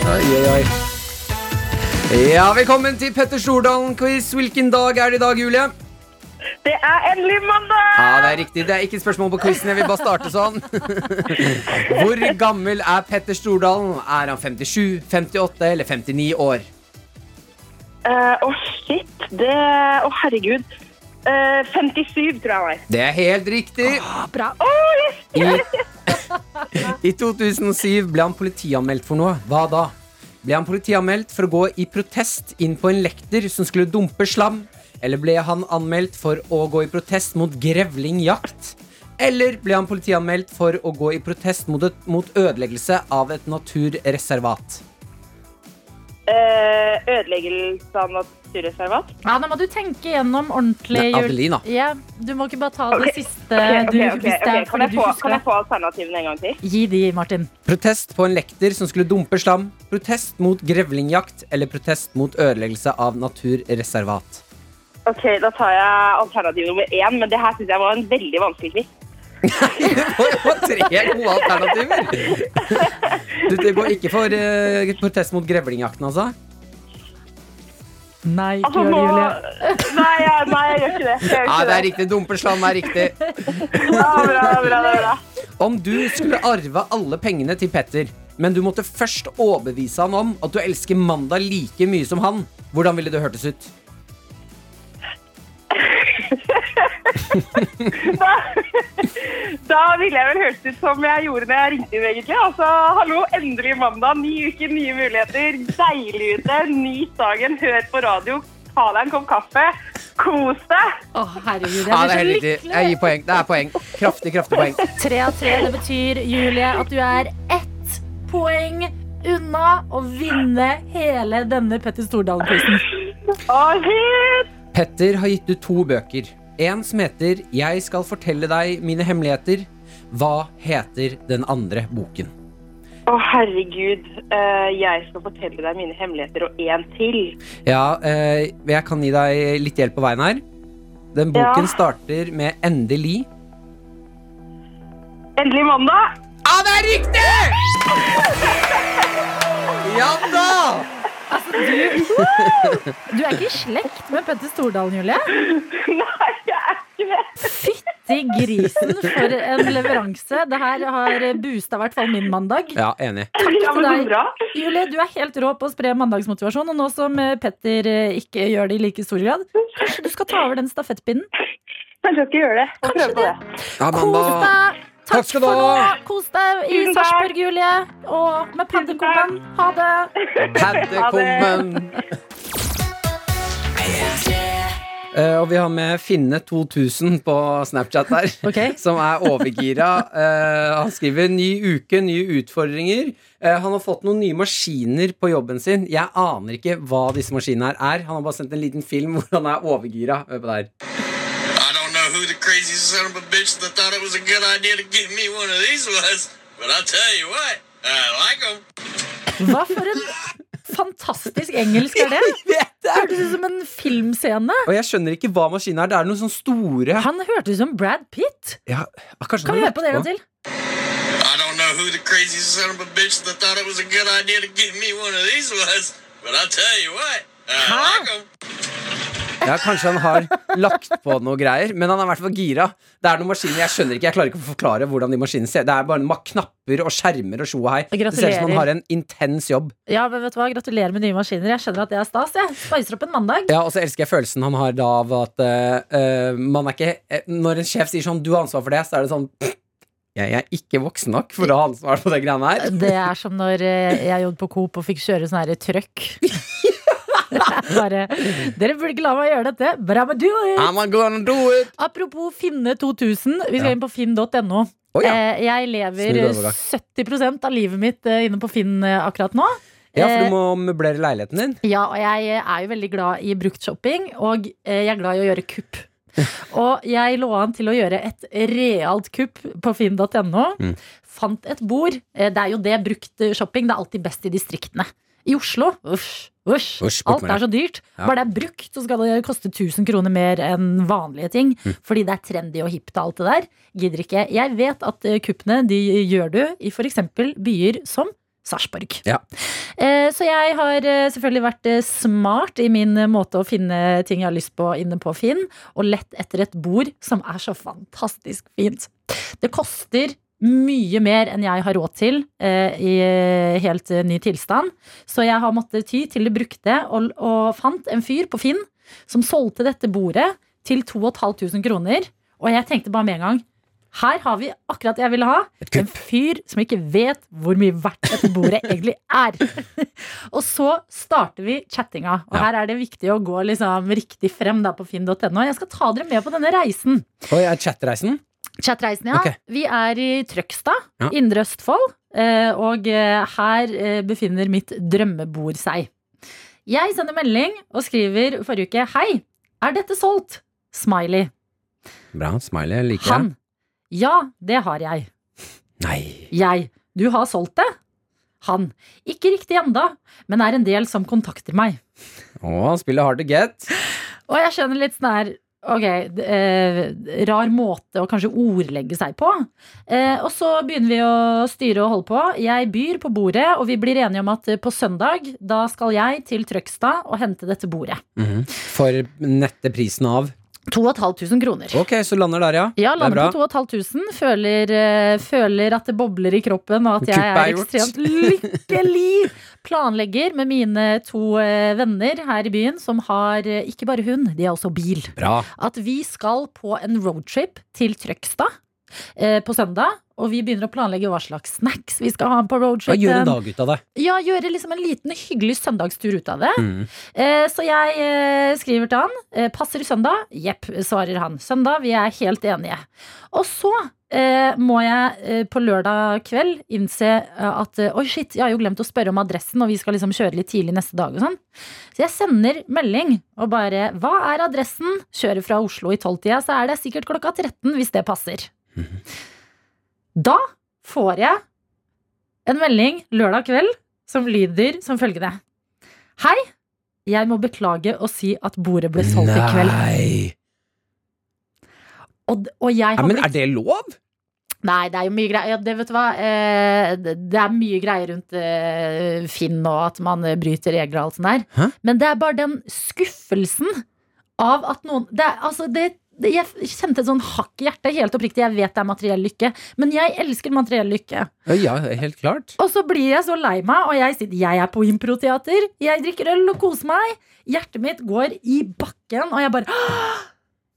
S3: Oi, oi, oi. Ja, velkommen til Petter Stordalen-quiz. Hvilken dag er det i dag, Julie?
S8: Det er endelig mandag!
S3: Ja, det er riktig. Det er ikke et spørsmål på quizen. Jeg vil bare starte sånn. Hvor gammel er Petter Stordalen? Er han 57, 58 eller 59 år?
S8: Eh, Å, shit. Det Å, herregud. Eh, 57, tror jeg han er.
S3: Det er helt riktig.
S2: Bra.
S3: I, I 2007 ble han politianmeldt for noe. Hva da? Ble han politianmeldt for å gå i protest inn på en lekter som skulle dumpe slam? Eller ble han anmeldt for å gå i protest mot grevlingjakt? Eller ble han politianmeldt for å gå i protest mot, et, mot ødeleggelse av et naturreservat?
S8: Eh, ødeleggelse av naturreservat.
S2: Ja, nå må du tenke gjennom ordentlig.
S3: Nei,
S2: Jul-
S3: Adelina.
S2: Ja, du må ikke bare ta det
S8: Ok,
S2: siste
S8: Ok, ok,
S2: Eh, du
S8: ok,
S2: hvis det
S8: ok.
S2: er
S8: Kan,
S2: fordi
S8: jeg
S2: du
S8: få, kan jeg
S2: husker det.
S8: få alternativene en gang til?
S2: Gi de, Martin.
S3: Protest på en lekter som skulle dumpe slam? Protest mot grevlingjakt? Eller protest mot ødeleggelse av naturreservat?
S8: Ok, Da tar jeg alternativ nummer én, men det her syns jeg var en veldig vanskelig quiz.
S3: Det var tre gode alternativer. Du, det går ikke for eh, protest mot grevlingjakten, altså?
S2: Nei, ikke
S8: Altså,
S2: gjør det,
S8: nå-
S2: Julie.
S8: Nei, ja, nei, jeg gjør ikke det. Jeg gjør
S3: Ja,
S8: ikke
S3: det er riktig. Dumpeslam er riktig.
S8: Ja, bra, bra, bra, bra.
S3: Om du skulle arve alle pengene til Petter, men du måtte først overbevise han om at du elsker mandag like mye som han, hvordan ville det hørtes ut?
S8: Da, da ville jeg vel hørt ut som jeg gjorde når jeg ringte inn, egentlig. Altså, hallo, endelig mandag. Ny uke, nye muligheter. Deilig ute. Nyt dagen. Hør på radio. Ta deg en kopp kaffe. Kos deg.
S2: Å, herregud, jeg
S3: Ja,
S2: blir
S3: det
S2: så
S3: er helt riktig.
S2: lykkelig.
S3: Jeg gir poeng. Det er poeng. Kraftig, kraftig poeng.
S2: Tre av tre, det betyr, Julie, at du er ett poeng unna å vinne hele denne Petter Stordalen-prisen.
S8: Å, shit!
S3: Petter har gitt ut to bøker. En som heter 'Jeg skal fortelle deg mine hemmeligheter'. Hva heter den andre boken?
S8: Å, herregud. Eh, jeg skal fortelle deg mine hemmeligheter og én til.
S3: Ja, eh, jeg kan gi deg litt hjelp på veien her. Den boken
S8: Ja.
S3: starter med 'endelig'.
S8: Endelig mandag.
S3: Ja, det er riktig! Ja da!
S2: Du er ikke i slekt med Petter Stordalen, Julie.
S8: Nei, jeg er ikke det.
S2: Fytti grisen for en leveranse. Det her har boosta i hvert fall min mandag.
S3: Ja, enig.
S8: Ja, men så
S2: deg.
S8: bra.
S2: Julie, du er helt rå på å spre mandagsmotivasjon, og nå som eh, Petter eh, ikke gjør det i like stor grad, kanskje du skal ta over den stafettpinnen?
S8: Kanskje jeg skal gjøre det. Og prøve på det.
S3: Ja,
S2: Kos deg! Takk,
S3: Takk skal du
S2: for nå!
S3: ha.
S2: Kos deg i
S8: Tusen takk.
S2: Sarpsborg, Julie. Og med paddekommen. Ha det!
S3: Paddekommen. Eh, og vi har med Finne 2000 på Snapchat der,
S2: Ok.
S3: som er overgira. Eh, han skriver 'ny uke, nye utfordringer'. Eh, han har fått noen nye maskiner på jobben sin. Jeg aner ikke hva disse maskinene her er. Han har bare sendt en liten film hvor han er overgira. Hør på det her.
S9: I don't know who the crazy son of a bitch that thought it was a good idea to give me one of these was, but I tell you what, I like them.
S2: Hva for en fantastisk engelsk er det? Hørtes ut som en filmscene.
S3: Og jeg skjønner ikke hva maskinen er. Det er noen sånne store
S2: Han hørtes ut som Brad Pitt.
S3: ja, kanskje
S2: Kan vi
S3: han har
S2: høre på det en
S3: lagt
S2: gang til?
S9: I don't know who the crazy son of a bitch that thought it was a good idea to give me one of these was, but I tell you what, I like 'em.
S3: Ja, Kanskje han har lagt på noe greier, men han er i hvert fall gira. Det er noen maskiner, Jeg skjønner ikke, jeg klarer ikke å forklare hvordan de maskinene ser Det er bare ma- knapper og skjermer og tjo og hei. Det ser ut
S2: Gratulerer.
S3: som han har en intens jobb.
S2: Ja, men vet du hva? Gratulerer med nye maskiner. Jeg skjønner at det er stas. Jeg spicer opp en mandag.
S3: Ja, Og så elsker jeg følelsen han har da av at eh, eh, man er ikke eh, Når en sjef sier sånn 'du har ansvar for det', så er det sånn Jeg er ikke voksen nok for å ha ansvar for de greiene her.
S2: Det er som når eh, jeg jobbet på Coop og fikk kjøre sånn her trøkk. Det er Bare, dere burde ikke la meg gjøre dette. Bra, men du
S3: I'm gonna do it!
S2: Apropos Finne 2000. Vi skal inn på finn.no.
S3: Å ja.
S2: Eh, Jeg lever
S3: Smooth overgang.
S2: 70 av livet mitt eh, inne på Finn eh, akkurat nå.
S3: ja, for
S2: Eh,
S3: du må møblere leiligheten din.
S2: Ja, og jeg eh, er jo veldig glad i bruktshopping, og eh, jeg er glad i å gjøre kupp. Og jeg lå an til å gjøre et realt kupp på finn.no.
S3: Mm.
S2: Fant et bord. Eh, Det er jo det brukt eh, shopping. Det er alltid best i distriktene. I Oslo uff, uff,
S3: Usch, bort
S2: alt
S3: med
S2: er så dyrt.
S3: Ja.
S2: Bare det er brukt, så skal det koste 1000 kroner mer enn vanlige ting.
S3: Mm.
S2: Fordi det er trendy og hipt og alt eh, det der. Gidder ikke. Jeg vet at eh, kuppene de gjør du i f.eks. byer som Sarpsborg.
S3: Ja.
S2: Eh, Så jeg har eh, selvfølgelig vært eh, smart i min eh, måte å finne ting jeg har lyst på inne på Finn, og lett etter et bord som er så fantastisk fint. Det koster mye mer enn jeg har råd til eh, i eh, helt eh, ny tilstand, så jeg har måttet ty til det brukte og, og fant en fyr på Finn som solgte dette bordet til 2500 kroner, og jeg tenkte bare med en gang her har vi akkurat det jeg ville ha.
S3: Et
S2: En
S3: kupp.
S2: fyr som ikke vet hvor mye verdt dette bordet egentlig er. Og så starter vi chattinga. Og
S3: Ja.
S2: her er det viktig å gå liksom riktig frem da på finn.no. Jeg skal ta dere med på denne reisen.
S3: Oi, er chatreisen?
S2: Chatreisen, ja.
S3: Ok.
S2: Vi er i Trøgstad,
S3: Ja.
S2: Indre Østfold. eh, Og eh, her eh, befinner mitt drømmebord seg. Jeg sender melding og skriver forrige uke 'Hei, er dette solgt?' Smiley.
S3: Bra. Smiley. jeg Liker
S2: Han. Ja, det har jeg.
S3: det. Nei.
S2: Jeg. Du har solgt det? Han. Ikke riktig enda, men er en del som kontakter meg.
S3: Å, spillet hard to get.
S2: Og jeg skjønner litt sånn her Ok, d- eh, rar måte å kanskje ordlegge seg på. Eh, og så begynner vi å styre og holde på. Jeg byr på bordet, og vi blir enige om at eh, på søndag da skal jeg til Trøgstad og hente dette bordet.
S3: Mhm. For nette prisen av
S2: 2500 kroner.
S3: Ok, så lander der, ja.
S2: Ja,
S3: det er
S2: lander
S3: bra.
S2: på 2500. Føler, eh, føler at det bobler i kroppen, og at jeg
S3: Kuppet er
S2: er
S3: gjort.
S2: ekstremt lykkelig. Planlegger med mine to eh, venner her i byen, som har eh, ikke bare hund, de har også bil.
S3: Bra.
S2: At vi skal på en roadtrip til Trøgstad eh, på søndag. Og vi begynner å planlegge hva slags snacks vi skal ha på
S3: Ja, gjør en
S2: roadtripen.
S3: dag ut av det.
S2: Ja, gjøre liksom en liten hyggelig søndagstur ut av det.
S3: Mm.
S2: Eh, Så jeg eh, skriver til han. eh, Passer søndag? Jepp, svarer han. Søndag, vi er helt enige. Og så eh, må jeg eh, på lørdag kveld innse eh, at eh, oi, shit, jeg har jo glemt å spørre om adressen, og vi skal liksom kjøre litt tidlig neste dag og sånn. Så jeg sender melding og bare hva er adressen? Kjører fra Oslo i tolvtida, så er det sikkert klokka 13 hvis det passer.
S3: Mhm.
S2: Da får jeg en melding lørdag kveld som lyder som følgende. Hei, jeg må beklage å si at bordet ble solgt i kveld.
S3: Nei.
S2: Og, og jeg har
S3: Ja, men
S2: blitt
S3: er det lov?
S2: Nei, det er jo mye greier. Ja, det, vet du hva? Eh, det det er mye greier rundt eh, Finn og at man eh, bryter regler og alt sånt der.
S3: Hæ?
S2: Men det er bare den skuffelsen av at noen det, er- altså, det, det, Jeg kjente et sånn hakk i hjertet, helt oppriktig. Jeg vet det er materiell lykke, men jeg elsker materiell lykke.
S3: Ja, Ja, helt klart.
S2: Og så blir jeg så lei meg, og jeg sitter Jeg er på improteater. Jeg drikker øl og koser meg. Hjertet mitt går i bakken, og jeg bare «Åh,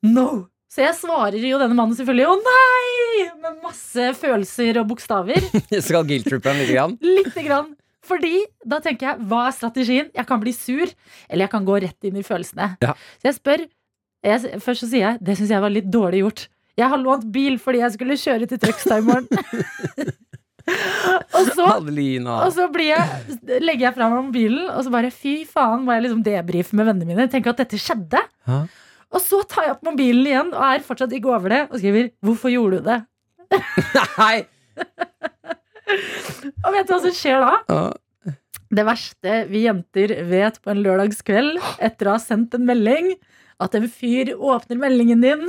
S2: No! Så jeg svarer jo denne mannen selvfølgelig å nei! Med masse følelser og bokstaver.
S3: Jeg skal guilt-trippe en lite grann.
S2: Lite grann. Fordi da tenker jeg, hva er strategien? Jeg kan bli sur, eller jeg kan gå rett inn i følelsene.
S3: Ja.
S2: Så jeg spør jeg, Først så sier jeg det syns jeg var litt dårlig gjort. Jeg har lånt bil fordi jeg skulle kjøre til Trøgstad i morgen. og så
S3: Adelina.
S2: og så blir jeg, legger jeg fra meg mobilen, og så bare fy faen, må jeg liksom debrife med vennene mine. Tenke at dette skjedde.
S3: Ja.
S2: Og så tar jeg opp mobilen igjen og er fortsatt ikke over det, og skriver 'Hvorfor gjorde du det?'
S3: Nei!
S2: Og vet du hva som skjer da?
S3: Ja.
S2: Det verste vi jenter vet på en lørdagskveld etter å ha sendt en melding, at en fyr åpner meldingen din,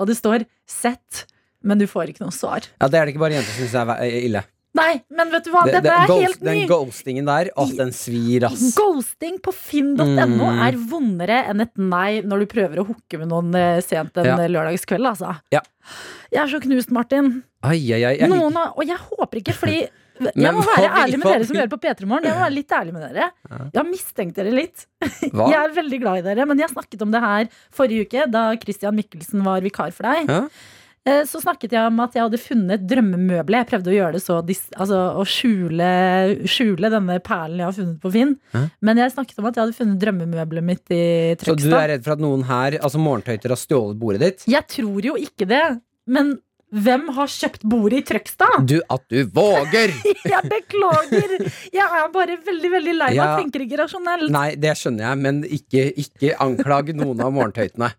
S2: og det står 'sett', men du får ikke noe svar.
S3: Ja, det er det ikke bare jenter som syns er ve- eh, ille.
S2: Nei, men vet du hva,
S3: Det-
S2: dette
S3: det-
S2: er
S3: ghost-
S2: helt ny.
S3: Den ghostingen der, å, den svir, ass.
S2: Ghosting på finn.no
S3: Mm.
S2: er vondere enn et nei når du prøver å hooke med noen eh, sent en
S3: Ja.
S2: eh, lørdagskveld, altså.
S3: Ja.
S2: Jeg er så knust, Martin.
S3: Ai, ai, ai. Jeg liker
S2: Noen har, og jeg håper ikke, fordi jeg
S3: Men
S2: må
S3: hva
S2: være
S3: vil-
S2: ærlig med
S3: hva
S2: dere som
S3: vil-
S2: hører på P3 Morgen. Jeg må være litt ærlig med dere. Jeg har mistenkt dere litt.
S3: hva?
S2: Jeg er veldig glad i dere, men jeg snakket om det her forrige uke, da Christian Mikkelsen var vikar for deg.
S3: Ja.
S2: Eh, Så snakket jeg om at jeg hadde funnet drømmemøbelet. Jeg prøvde å gjøre det så dis altså, å skjule, skjule denne perlen jeg har funnet på Finn.
S3: Hæ?
S2: Men jeg snakket om at jeg hadde funnet drømmemøbelet mitt i
S3: Så du
S2: Trøgstad.
S3: er redd for at noen her, altså morgentøyter, har stjålet bordet ditt?
S2: Jeg tror jo ikke det, men hvem har kjøpt bordet i Trøgstad?
S3: Du, at du våger!
S2: Jeg beklager! Jeg er bare veldig veldig lei meg.
S3: Ja.
S2: Tenker ikke rasjonelt.
S3: Nei, det skjønner jeg, men ikke, ikke anklag noen av morgentøytene.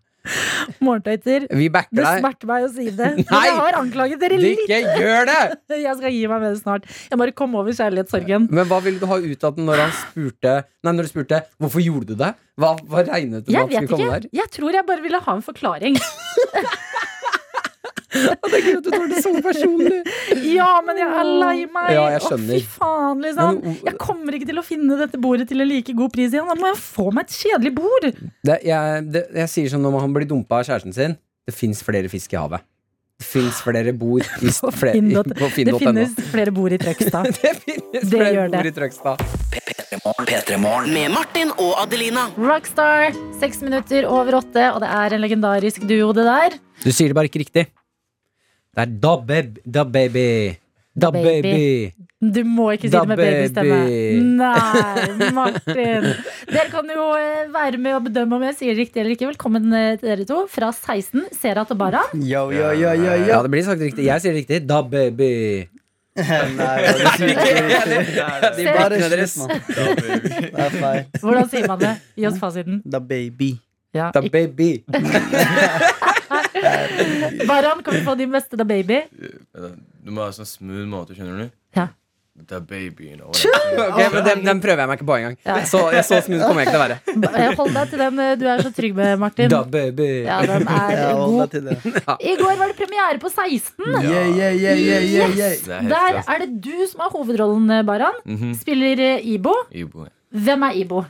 S2: Morgentøyter.
S3: Vi backer
S2: Det
S3: deg.
S2: smerter meg å si det. Men
S3: Nei!
S2: jeg har anklaget dere litt.
S3: Ikke gjør det!
S2: Jeg skal gi meg med det snart. Jeg bare kom over kjærlighetssorgen.
S3: Men hva ville du ha ut av den når han spurte Nei, når du spurte hvorfor gjorde du det? Hva, hva regnet du med
S2: Jeg
S3: at
S2: vet
S3: skulle komme
S2: ikke.
S3: der?
S2: Jeg tror jeg bare ville ha en forklaring.
S3: Det er gøy at du tar det så personlig.
S2: Ja, men jeg er lei meg!
S3: Ja, jeg
S2: Å,
S3: skjønner.
S2: fy faen, liksom.
S3: Men o-
S2: Jeg kommer ikke til å finne dette bordet til en like god pris igjen. Da må jeg få meg et kjedelig bord!
S3: Det, jeg, det, jeg sier sånn når han blir dumpa av kjæresten sin Det fins flere fisk i havet. Det fins flere bord i s- fle-
S2: Finn
S3: i-
S2: dot-
S3: på
S2: det
S3: finn.no.
S2: finnes flere bord i Trøgstad.
S3: Det finnes
S2: Det
S3: flere
S2: gjør det.
S3: bord i Trøgstad.
S4: P3morgen.
S5: Med Martin og Adelina.
S2: Rockstar, seks minutter over åtte, og det er en legendarisk duo, det der.
S3: Du sier det bare ikke riktig. Det er da baby. Da baby. Da
S2: Baby.
S3: baby.
S2: Du må ikke si
S3: Da
S2: det med babystemme.
S3: baby.
S2: Nei, Martin. Dere kan jo eh, være med og bedømme om jeg sier det riktig eller ikke. Velkommen eh, til dere to fra 16, Serat og Baran.
S10: Yo, yo, yo, yo,
S3: Ja, det blir sagt riktig. Jeg sier det riktig. Da baby.
S10: Nei, ja, det sier ikke riktig.
S3: De
S2: Ser-
S3: blikkene
S10: Bare slutt,
S3: deres.
S10: mann. Det er feil.
S2: Hvordan sier man det? Gi oss fasiten.
S10: Da baby.
S2: Ja.
S3: Da baby.
S2: ikke- Baran, kan vi få din beste da baby?
S9: Du må ha sånn smooth måte, skjønner du?
S2: Ja.
S9: The baby, you know.
S3: Ok, men den, den prøver jeg meg ikke på engang.
S2: Ja.
S3: Så, jeg så smooth kommer jeg ikke til å være.
S2: Ba- eh, Hold deg til den eh, du er så trygg med, Martin.
S3: Da baby.
S2: Ja, den er
S10: Ja, hold deg
S2: god.
S10: til det.
S2: I går var det premiere på 16.
S10: Yeah, yeah, yeah, yeah, yeah, yeah.
S9: Det er helt
S2: Der
S9: klart.
S2: er det du som har hovedrollen, eh, Baran.
S9: Mhm.
S2: Spiller eh, Ibo.
S9: Ibo.
S2: Hvem er Ibo?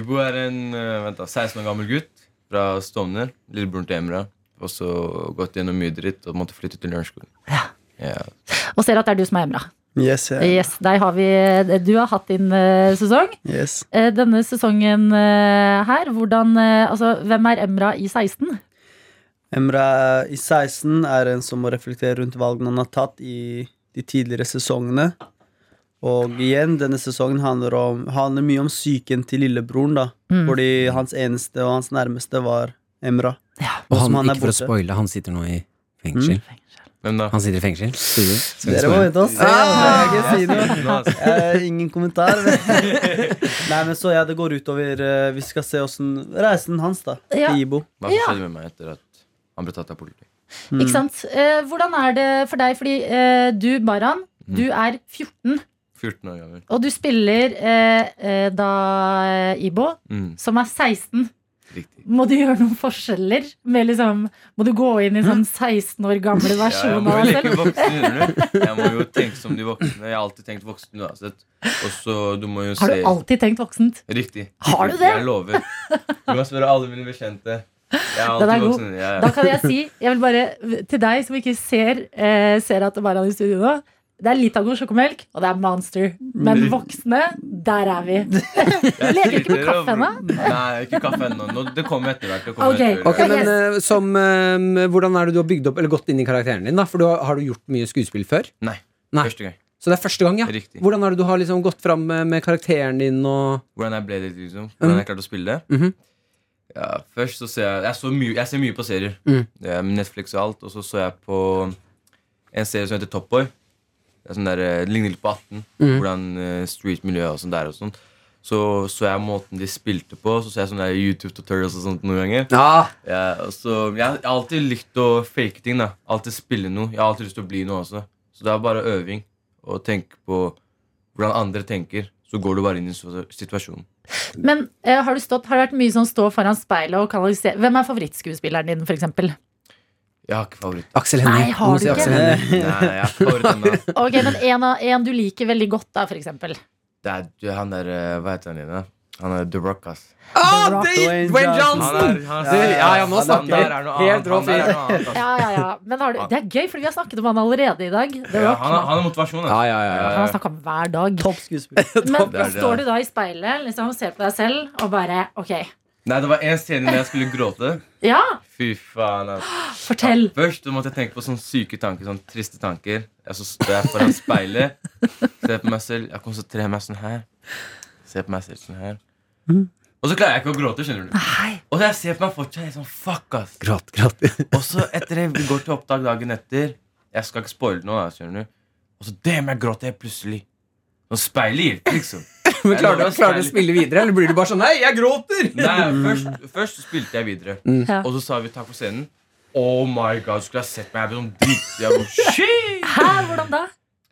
S9: Ibo er en eh, vent da, 16 år gammel gutt fra Stovner. Lillebroren til Emra. Og så gått gjennom mye dritt og måtte flytte til Lørenskog. Ja.
S2: Og ser at det er du som er Emra.
S10: Yes,
S9: Eh,
S10: yeah.
S2: Yes, deg har vi, du har hatt din eh, sesong.
S10: yes.
S2: Eh, Denne sesongen eh, her, hvordan eh, Altså, hvem er Emra i 16?
S10: Emra i 16 er en som må reflektere rundt valgene han har tatt i de tidligere sesongene. Og igjen, denne sesongen handler, om, handler mye om psyken til lillebroren, da.
S2: Mm.
S10: Fordi hans eneste og hans nærmeste var Emra.
S3: Og han,
S10: som han er
S3: ikke for å
S10: borte. Mm.
S3: spoile, han sitter nå i fengsel.
S9: Hvem da?
S3: Han sitter i fengsel. Sier du? Skal vi
S10: Dere må
S3: spoile?
S10: vente og se. altså. Jeg kan ikke si noe.
S9: Nå, altså.
S10: Eh, ingen kommentar. Men. Nei, men så ja, det går utover eh, Vi skal se åssen reisen hans, da.
S2: Ja.
S10: Til Ibo.
S9: Hva som skjedde med meg etter at han ble tatt av politiet?
S10: Mm.
S2: Ikke sant? Eh, Hvordan er det for deg? Fordi eh, du, Baran,
S9: Mm.
S2: du er 14,
S9: 14 år gammel.
S2: og du spiller eh, eh, da eh, Ibo,
S9: Mm,
S2: som er 16.
S9: riktig.
S2: Må du gjøre noen forskjeller? Med liksom, må du gå inn i sånn 16 år gamle
S9: Mm. Ja, jeg
S2: versjon
S9: må
S2: av
S9: jo
S2: deg
S9: leke
S2: selv?
S9: voksen, skjønner du. Jeg må jo tenke som de voksne. Jeg har alltid tenkt voksen uansett. Og så du må jo
S2: Har
S9: se
S2: du alltid tenkt voksent?
S9: Riktig.
S2: Har du det?
S9: Jeg lover. Du kan spørre alle mine bekjente. Jeg er
S2: Den er
S9: alltid
S2: god.
S9: voksen. Ja,
S2: Da
S9: ja.
S2: kan jeg si, jeg vil bare til deg som ikke ser, eh, ser at det bare er han i studio nå. Det er Litago sjokomelk, og det er Monster. Men
S9: Mm.
S2: voksne, der er vi. Leker ikke med kaffe ennå.
S9: Nei, ikke kaffe ennå. Nå- Det kommer etter hvert. Det kommer
S2: Ok.
S9: etter hvert.
S3: Ok, men eh, som, eh, Hvordan er det du har bygd opp eller gått inn i karakteren din? da? For du har, har du gjort mye skuespill før?
S9: Nei.
S3: Nei.
S9: Første gang.
S3: Så det er første gang, ja.
S9: Riktig.
S3: Hvordan er det du har liksom gått fram med, med karakteren din og
S9: Hvordan jeg ble det,
S2: Mm.
S9: liksom. Hvordan jeg klarte å spille det.
S2: Mm-hmm.
S3: Mhm.
S9: ja, først så ser jeg Jeg, så mye, jeg ser mye på serier.
S2: Mm.
S3: Mhm.
S9: Eh, Netflix og alt. Og så så jeg på en serie som heter Top Boy. Det er sånn der, eh, det ligner litt på 18.
S2: Mm.
S9: Hvordan eh, street-miljøet og sånn der og sånn. Så så jeg måten de spilte på. Så så jeg sånne der YouTube-tutorials og sånt noen ganger.
S3: Ja,
S9: Ja, Eh, og så, jeg har alltid likt å fake ting. da Alltid spille noe. Jeg har alltid lyst til å bli noe også. Så det er bare øving. Og tenke på hvordan andre tenker. Så går du bare inn i situa- situasjonen.
S2: Men eh, har, du stått, har det vært mye sånn stå foran speilet og kanalisere Hvem er favorittskuespilleren din, f.eks.?
S9: Jeg har ikke favoritt.
S3: Axel Hennie.
S2: Nei, har
S3: Du må
S2: du
S3: si
S2: ikke?
S3: Aksel Hennie.
S9: Nei, jeg har ikke favoritt ennå.
S2: Ok, men en, av, en du liker veldig godt, da, f.eks.
S9: Det er du- han der eh, Hva heter han igjen? da? Han er The Rock, ass.
S3: Ah, det er
S10: Dwayne
S3: Dwayne
S10: Johnson.
S3: Johnson!
S9: Han er, han
S3: Du, ja, ja, nå
S9: han-
S3: snakker
S9: han
S3: vi.
S9: der er noe
S3: Helt
S9: annet.
S3: rå
S9: Han der
S3: fyr.
S9: er noe annet, ass.
S2: Ja, ja, ja. Men har du, det er gøy, for vi har snakket om han allerede i dag. The
S9: Ja,
S2: Rock.
S9: han, er, han er motivasjon. ass.
S3: Ja, ja, ja, ja.
S2: Han har snakka om hver dag.
S10: Topp skuespiller.
S2: Men
S9: Det er det.
S2: står du da i speilet liksom, ser på deg selv og bare OK.
S9: Nei, det var en scene der jeg skulle gråte.
S2: Ja,
S9: Fy faen, ass.
S2: fortell.
S9: Først så måtte jeg tenke på sånne syke tanker, sånne triste tanker. Jeg så står jeg foran speilet, ser på meg selv, jeg konsentrerer meg sånn her. Ser på meg selv sånn her.
S3: Mm.
S9: Og så klarer jeg ikke å gråte, skjønner du.
S2: Nei.
S9: Og jeg ser på meg fortsatt, jeg er sånn fuck, ass.
S3: Gråt, gråt.
S9: Og så etter det, vi går til opptak dagen etter. Jeg skal ikke spoile noe, da, skjønner du. Og så damn, jeg gråter helt plutselig. Og speilet hjelper, liksom.
S3: Men klarer du, klarer du å spille videre, eller blir du bare sånn Nei, jeg gråter!
S9: Nei, først, først så spilte jeg videre.
S2: Ja.
S9: Og så sa vi takk for scenen. Oh my god, du skulle ha sett meg. Jeg ble sånn dritt. Jeg ble sånn, shit!
S2: Hæ, hvordan da?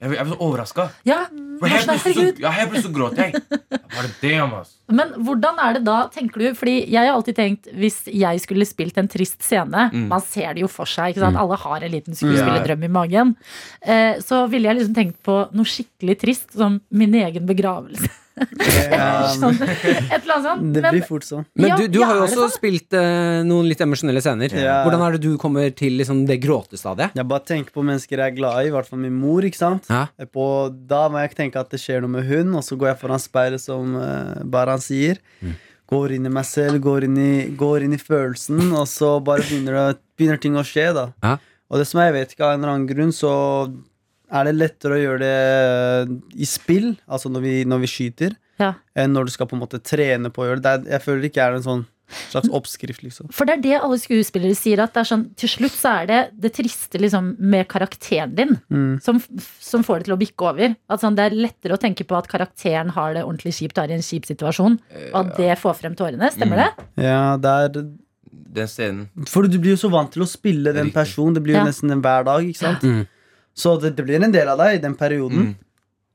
S9: Jeg ble, jeg ble så overraska.
S2: Ja,
S9: For helt
S2: Marstein,
S9: plutselig så-
S2: herregud.
S9: ja, helt plutselig så gråt jeg. Var det det, ass?
S2: Men hvordan er det da, tenker du? Fordi jeg har alltid tenkt, hvis jeg skulle spilt en trist scene
S9: Mm.
S2: Man ser det jo for seg, ikke sant?
S9: Mm.
S2: Alle har en liten skuespillerdrøm i magen. Eh, så ville jeg liksom tenkt på noe skikkelig trist, som min egen begravelse.
S9: Um.
S2: sånn, et eller annet sånt.
S10: Eh, Det
S2: Men
S10: blir fort sånn.
S3: Men
S2: Ja,
S3: du, du
S2: ja,
S3: har jo
S2: er det
S3: også spilt eh, noen litt emosjonelle scener.
S10: Ja.
S3: Hvordan er det du kommer til liksom, det gråtestadiet?
S10: Jeg bare tenker på mennesker jeg er glad i, i hvert fall min mor. ikke sant? Eh,
S3: Ja.
S10: På, da må jeg tenke at det skjer noe med hun, og så går jeg foran speilet, som eh, Baran sier. Går inn i meg selv, går inn i, går inn i følelsen, og så bare begynner, det, begynner ting å skje. da.
S3: Ja.
S10: Og det som jeg vet ikke av en eller annen grunn, så er det lettere å gjøre det eh, i spill, altså når vi, når vi skyter,
S2: Ja.
S10: enn når du skal på en måte trene på å gjøre det. det. er- Jeg føler det ikke er en sånn slags oppskrift, liksom.
S2: For det er det alle skuespillere sier, at det er sånn, til slutt så er det det triste liksom, med karakteren din
S10: Mm.
S2: som, f- som får det til å bikke over. At sånn, det er lettere å tenke på at karakteren har det ordentlig kjipt og er i en kjip situasjon, og at det får frem tårene. Stemmer
S9: Mm.
S2: det?
S10: Ja, det er
S9: Den scenen.
S10: For du blir jo så vant til å spille den
S9: Riktig.
S10: personen. Det blir jo
S2: Ja.
S10: nesten en hver dag. ikke sant?
S3: Mm.
S10: Så det, det blir en del av deg i den perioden.
S9: Mm.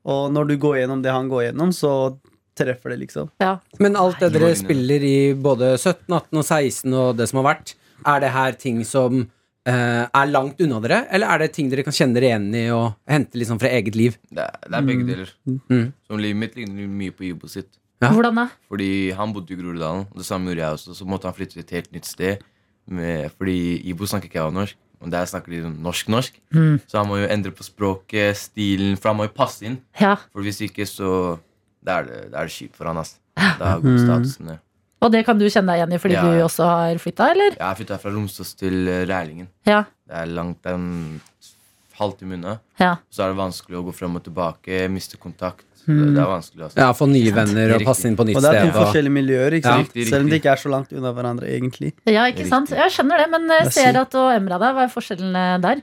S10: Og når du går gjennom det han går gjennom, så treffer det, liksom.
S2: Ja.
S3: Men alt det
S9: Nei.
S3: dere spiller i både 17, 18 og 16 og det som har vært, er det her ting som eh, er langt unna dere, eller er det ting dere kan kjenne dere igjen i og hente liksom fra eget liv?
S9: Det er, det er begge deler.
S3: Mm.
S9: Som livet mitt ligner mye på Ibo sitt.
S3: Ja.
S2: Hvordan da?
S9: Fordi han bodde i Groruddalen, og det samme gjorde jeg også. Så måtte han flytte til et helt nytt sted. Med, fordi Ibo snakker ikke jeg norsk, men der snakker de norsk-norsk.
S3: Mm.
S9: Så han må jo endre på språket, stilen, for han må jo passe inn.
S2: Ja.
S9: For hvis ikke, så Da er det, da er det kjipt for han, ass. Da
S3: Mm.
S9: går statusen ned.
S2: Og det kan du kjenne deg igjen i fordi
S9: Ja,
S2: du
S9: ja.
S2: også har flytta, eller?
S9: Jeg har flytta fra Romsås til eh, Rælingen.
S2: Ja.
S9: Det er langt det er en halvtime unna.
S2: Ja.
S9: Så er det vanskelig å gå frem og tilbake, miste kontakt. Det, det er vanskelig, altså.
S3: Ja, få nye venner og passe inn på nytt
S10: Og det er
S3: sted.
S10: to forskjellige miljøer, ikke
S3: Ja.
S10: sant?
S9: Riktig,
S10: selv om de
S9: riktig.
S10: ikke er så langt unna hverandre, egentlig.
S2: ja, ikke sant? Jeg skjønner det, men eh,
S10: Det er sykt.
S2: Serat og Emra, da, hva er forskjellen eh, der?